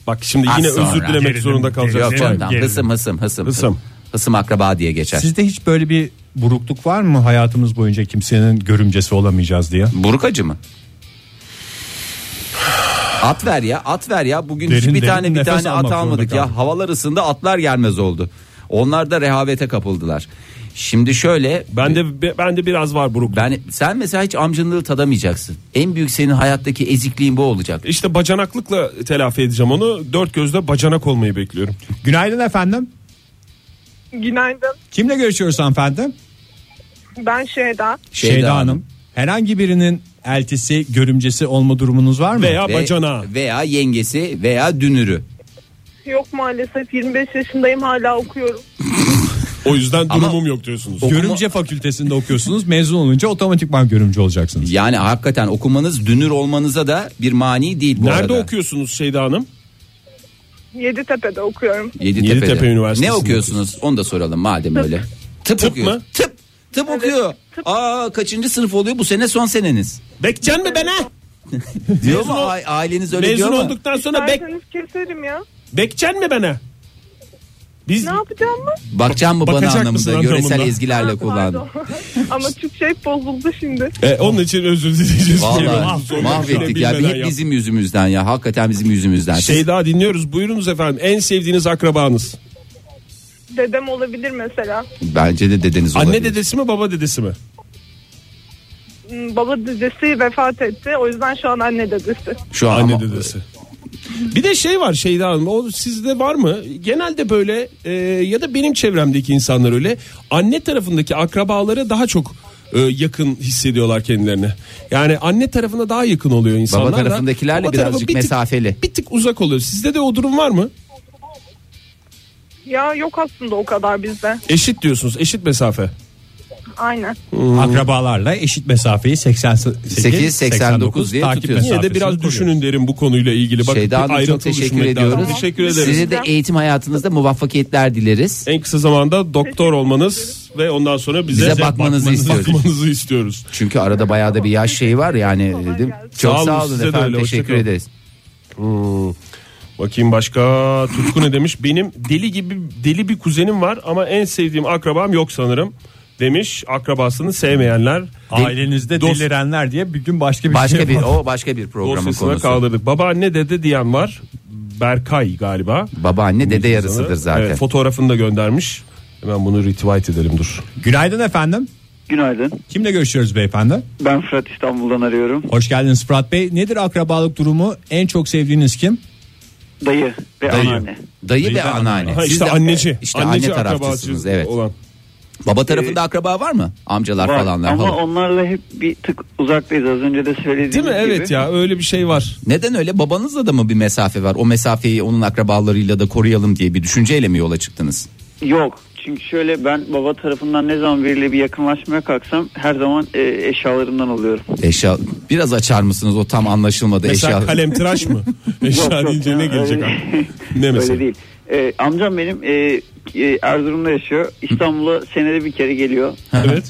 D: Bak şimdi yine
C: Az sonra.
D: özür dilemek
B: Gerilim,
D: zorunda kalacağız.
C: Yok
B: Gerilim,
C: ondan.
B: gerilim.
C: Hısım hısım hısım.
D: Hısım.
C: Hısım akraba diye geçer.
B: Sizde hiç böyle bir burukluk var mı hayatımız boyunca kimsenin görümcesi olamayacağız diye?
C: Buruk acı mı? At ver ya at ver ya bugün
B: Derin
C: hiçbir
B: derin
C: tane bir
B: nefes
C: tane
B: almak
C: at
B: zorunda
C: almadık ya havalar ısındı atlar gelmez oldu. Onlar da rehavete kapıldılar. Şimdi şöyle ben de ben de biraz var buruk. Ben sen mesela hiç amcanlığı tadamayacaksın. En büyük senin hayattaki ezikliğin bu olacak.
D: İşte bacanaklıkla telafi edeceğim onu. Dört gözle bacanak olmayı bekliyorum.
B: Günaydın efendim.
J: Günaydın.
B: Kimle görüşüyoruz hanımefendi?
J: Ben Şeyda.
B: Şeyda, Hanım. Herhangi birinin eltisi, görümcesi olma durumunuz var mı?
C: Ve- veya yengesi veya dünürü.
J: Yok maalesef 25 yaşındayım hala okuyorum.
D: O yüzden durumum yok diyorsunuz.
B: Görümce fakültesinde okuyorsunuz. Mezun olunca otomatikman görümce olacaksınız.
C: Yani hakikaten okumanız dünür olmanıza da bir mani değil bu
D: Nerede
C: arada.
D: okuyorsunuz Şeyda Hanım?
J: Yeditepe'de okuyorum.
C: Yeditepe'de.
D: Yeditepe Üniversitesi'nde
C: Ne okuyorsunuz? Onu da soralım madem öyle. Tıp, okuyor. Tıp. Tıp okuyor. Aa kaçıncı sınıf oluyor? Bu sene son seneniz.
D: Bekcan mı ben ha?
C: Diyor mu a- aileniz öyle
D: mezun
C: diyor mu?
D: olduktan sonra bek,
J: İsterseniz keserim şey ya.
D: bekçen mi bana? Biz
J: Ne yapacağım mı?
C: Bakacağım mı bana
D: Bakacak
C: anlamında
D: mısın
C: yöresel
D: anlamında?
C: ezgilerle kullandım.
J: Ama Türkçe hep bozuldu şimdi.
D: E, onun için özür dileyeceğiz.
C: Vallahi
D: Mahvolduk.
C: mahvettik ya.
D: Bilmeden
C: Hep
D: yaptık.
C: bizim yüzümüzden ya. Hakikaten bizim yüzümüzden. Siz-
D: Şeyda dinliyoruz. Buyurunuz efendim. En sevdiğiniz akrabanız.
J: Dedem olabilir mesela.
C: Bence de dedeniz
D: Anne
C: olabilir.
D: dedesi mi baba dedesi mi?
J: Hmm, Baba dedesi vefat etti. O yüzden şu an anne dedesi.
C: Şu an
D: anne dedesi. Bir de şey var Şeyda Hanım o sizde var mı? Genelde böyle e, ya da benim çevremdeki insanlar öyle anne tarafındaki akrabaları daha çok e, yakın hissediyorlar kendilerini. Yani anne tarafına daha yakın oluyor insanlar. da.
C: tarafındakilerle
D: tarafı
C: birazcık
D: bir tık-
C: mesafeli.
D: Bir tık uzak oluyor. Sizde de o durum var mı?
J: Ya yok aslında o kadar bizde.
D: Eşit diyorsunuz eşit mesafe.
J: Aynen.
B: Akrabalarla eşit mesafeyi 88,
C: 8, 89 diye
B: takip
C: tutuyorsunuz.
D: Yine de
B: mesafesini
D: biraz
B: koruyor.
D: düşünün derim bu konuyla ilgili. Bakın
C: Şeyda
D: bir
C: Hanım çok
D: ayrıntılı
C: teşekkür
D: düşünmek lazım.
C: ediyoruz.
D: Teşekkür ederiz. E,
C: Size de eğitim hayatınızda muvaffakiyetler dileriz.
D: En kısa zamanda doktor olmanız ve ondan sonra bize,
C: Bize, bakmanızı, istiyoruz.
D: bakmanızı istiyoruz.
C: Çünkü arada bayağı da bir yaş şeyi var yani. Değil mi? Çok sağ olun,
D: size de
C: efendim.
D: öyle,
C: Teşekkür
D: hoşçakalın.
C: ederiz.
D: Hmm. Bakayım başka Tutku ne demiş? Benim deli gibi deli bir kuzenim var ama en sevdiğim akrabam yok sanırım demiş. Akrabasını sevmeyenler
B: Ailenizde
D: Dost-
B: delirenler diye bir gün başka bir
C: Başka
B: şey
C: bir
B: yapalım.
C: o başka bir programın
D: dosyasına
C: konusu.
D: kaldırdık. Babaanne dede diyen var. Berkay galiba.
C: Babaanne dede yarısıdır zaten.
D: Evet, fotoğrafını da göndermiş. Hemen bunu retweet edelim dur.
B: Günaydın efendim.
L: Günaydın.
B: Kimle görüşüyoruz beyefendi?
L: Ben Fırat İstanbul'dan arıyorum.
B: Hoş geldiniz Fırat Bey. Nedir akrabalık durumu? En çok sevdiğiniz kim?
L: Dayı ve
C: Dayı.
L: anneanne.
C: Dayı,
B: Dayı
C: ve
B: ve
C: anneanne.
D: Ha,
C: Hani Siz
D: işte
C: de-
D: anneci.
C: İşte
D: anneci Ee,
C: anne taraftasınız
D: akrabası
C: evet.
D: Olan.
C: Baba tarafında akraba var mı? Amcalar
L: Var.
C: falanlar.
L: Ama
C: falan.
L: onlarla hep bir tık uzaktayız az önce de söylediğim
D: Değil mi? Evet
L: gibi.
D: ya öyle bir şey var.
C: Neden öyle? Babanızla da mı bir mesafe var? O mesafeyi onun akrabalarıyla da koruyalım diye bir düşünceyle mi yola çıktınız?
L: Yok. Çünkü şöyle ben baba tarafından ne zaman biriyle bir yakınlaşmaya kalksam her zaman e, eşyalarımdan alıyorum.
C: Eşya biraz açar mısınız o tam anlaşılmadı
D: Mesela
C: eşya.
D: kalem tıraş mı?
L: Yok,
D: Eşya
L: yok
D: deyince
L: ya,
D: ne gelecek?
L: öyle-
D: abi? Ne mesela?
L: Öyle değil. E, amcam benim e, e, Erzurum'da yaşıyor. İstanbul'a senede bir kere geliyor.
D: Evet.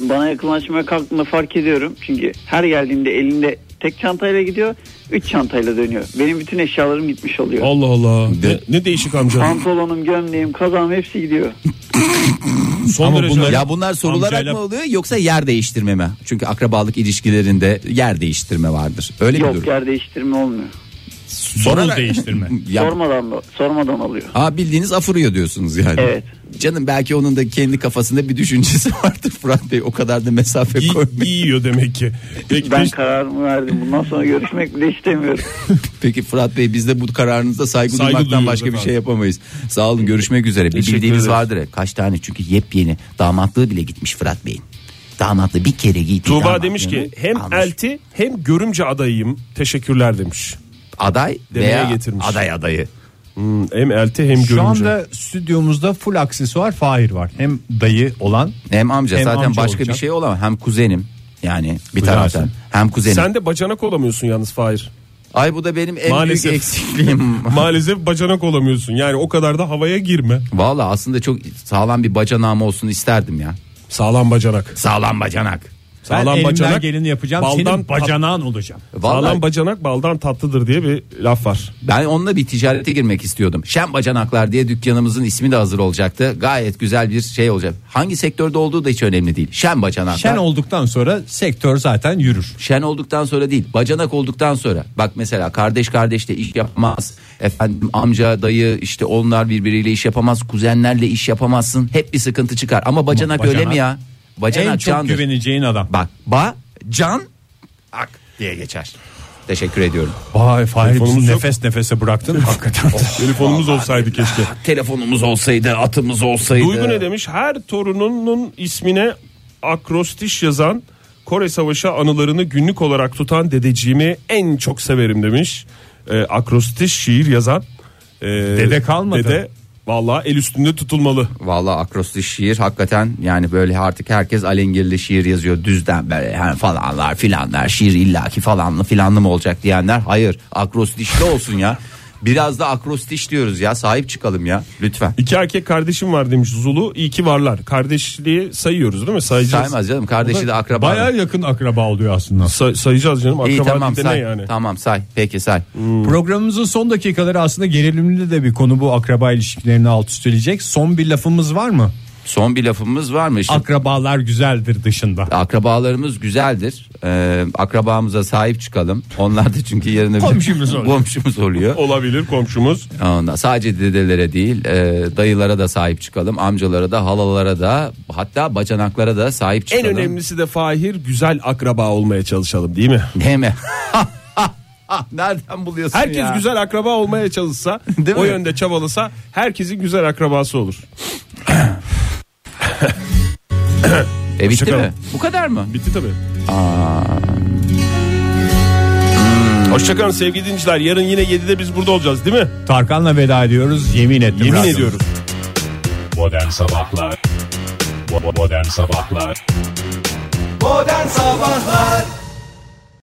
L: Bana yakınlaşmaya kalktığında fark ediyorum. Çünkü her geldiğinde elinde tek çantayla gidiyor, üç çantayla dönüyor. Benim bütün eşyalarım gitmiş oluyor.
D: Allah Allah. Ne,
C: De-
D: ne değişik amca.
L: Pantolonum, gömleğim, kazağım hepsi gidiyor.
D: Son
B: Ama
D: derece.
B: bunlar-
C: Ya bunlar sorularak
D: Amcayla-
C: mı oluyor yoksa yer değiştirme mi? Çünkü akrabalık ilişkilerinde yer değiştirme vardır. Öyle bir
L: Yok
C: durum.
L: yer değiştirme olmuyor.
B: Sorul değiştirme.
C: Ya-
L: Sormadan da, sormadan alıyor.
C: Aa bildiğiniz afırıyor diyorsunuz yani.
L: Evet.
C: Canım belki onun da kendi kafasında bir düşüncesi vardır Fırat Bey. O kadar da mesafe
D: İyi,
C: koymayın.
D: iyi yiyor demek ki. Peki,
L: Ben
D: teş-
L: kararımı verdim. Bundan sonra görüşmek bile istemiyorum.
C: Peki Fırat Bey biz de bu kararınıza saygı,
D: Saygı
C: duymaktan
D: duyuyoruz
C: başka bir
D: efendim.
C: şey yapamayız. Sağ olun görüşmek üzere. Bir
D: Teşekkür
C: bildiğiniz
D: ederiz.
C: vardır. hep. Kaç tane çünkü yepyeni damatlığı bile gitmiş Fırat Bey'in. Damatlığı bir kere giydi.
D: Tuğba
C: damatlığını
D: demiş ki hem
C: almış.
D: elti hem görümce adayıyım. Teşekkürler demiş.
C: aday
D: Demeye
C: veya
D: getirmiş.
C: aday adayı.
D: Hmm, hem elti hem
B: Şu
D: görümce.
B: anda stüdyomuzda full aksesuar Fahir var. Hem dayı olan
C: Hem amca
B: Hem
C: zaten
B: amca
C: başka
B: olacak.
C: bir şey olamaz. Hem kuzenim yani bir
B: Kuzensin.
C: taraftan. Hem kuzenim.
D: Sen de bacanak olamıyorsun yalnız Fahir.
C: Ay bu da benim en
D: Maalesef.
C: büyük eksikliğim.
D: Maalesef bacanak olamıyorsun. Yani o kadar da havaya girme.
C: Valla aslında çok sağlam bir bacanağım olsun isterdim ya.
D: Sağlam bacanak.
C: Sağlam bacanak.
B: Sağlam ben bacanak, geleni yapacağım. senin bacanağın
D: tat-
B: olacağım.
D: Sağlam bacanak baldan tatlıdır diye bir laf var.
C: Ben onunla bir ticarete girmek istiyordum. Şen Bacanaklar diye dükkanımızın ismi de hazır olacaktı. Gayet güzel bir şey olacak. Hangi sektörde olduğu da hiç önemli değil. Şen Bacanaklar.
B: Şen olduktan sonra sektör zaten yürür.
C: Şen olduktan sonra değil bacanak olduktan sonra bak mesela kardeş kardeşle iş yapmaz efendim amca dayı işte onlar birbiriyle iş yapamaz kuzenlerle iş yapamazsın hep bir sıkıntı çıkar ama bacanak,
B: Bacanak-
C: öyle mi ya bacanak
B: En çok
C: candır.
B: güveneceğin adam.
C: bak ba can ak diye geçer teşekkür ediyorum
B: Vay Fahir bizi
C: Telefonumuz yok.
B: nefes nefese bıraktın hakikaten.
D: Telefonumuz olsaydı keşke.
C: telefonumuz olsaydı atımız olsaydı
D: Duygu ne demiş? Her torununun ismine akrostiş yazan Kore Savaşı anılarını günlük olarak tutan dedeciğimi en çok severim demiş. Ee, akrostiş şiir yazan e,
B: Dede kalmadı.
D: Dede vallahi el üstünde tutulmalı.
C: Vallahi akrostiş şiir hakikaten yani böyle artık herkes alengirli şiir yazıyor düzden böyle yani falanlar filanlar şiir illaki falanlı filanlı mı olacak diyenler hayır akrostişli olsun ya. Biraz da akrostiş diyoruz ya sahip çıkalım ya lütfen.
D: İki erkek kardeşim var demiş Zulu. İyi ki varlar. Kardeşliği sayıyoruz değil mi? Sayacağız.
C: Saymaz canım, kardeşi de akraba. Bayağı
B: yakın akraba oluyor aslında.
D: sayacağız canım akraba
C: İyi tamam
D: değil de ne
C: say
D: yani?
C: tamam say peki say.
B: Programımızın son dakikaları aslında gerilimli de bir konu bu akraba ilişkilerini alt üst edecek. Son bir lafımız var mı?
C: Son bir lafımız var mı? Şimdi
B: Akrabalar güzeldir dışında.
C: akrabalarımız güzeldir. Ee, akrabamıza sahip çıkalım. Onlar da çünkü yerine bir-
D: Komşumuz oluyor.
C: komşumuz oluyor.
D: Olabilir komşumuz.
C: Ondan sadece dedelere değil e, dayılara da sahip çıkalım amcalara da halalara da hatta bacanaklara da sahip
D: En
C: çıkalım.
D: önemlisi de Fahir güzel akraba olmaya çalışalım değil mi?
C: Değil mi? Nereden buluyorsun
D: Herkes
C: ya?
D: güzel akraba olmaya çalışsa,
C: Değil
D: o
C: mi?
D: yönde çabalasa herkesin güzel akrabası olur.
C: E, bitti
D: Hoşçakalın.
C: mi? Bu kadar mı?
D: Bitti tabii. Hoşçakalın sevgili dinleyiciler. Yarın yine 7'de biz burada olacağız değil mi?
B: Tarkan'la veda ediyoruz. Yemin ettim.
D: Yemin
B: radyomuz.
D: ediyoruz.
A: Modern Sabahlar Bo- bo- Modern Sabahlar
E: Modern Sabahlar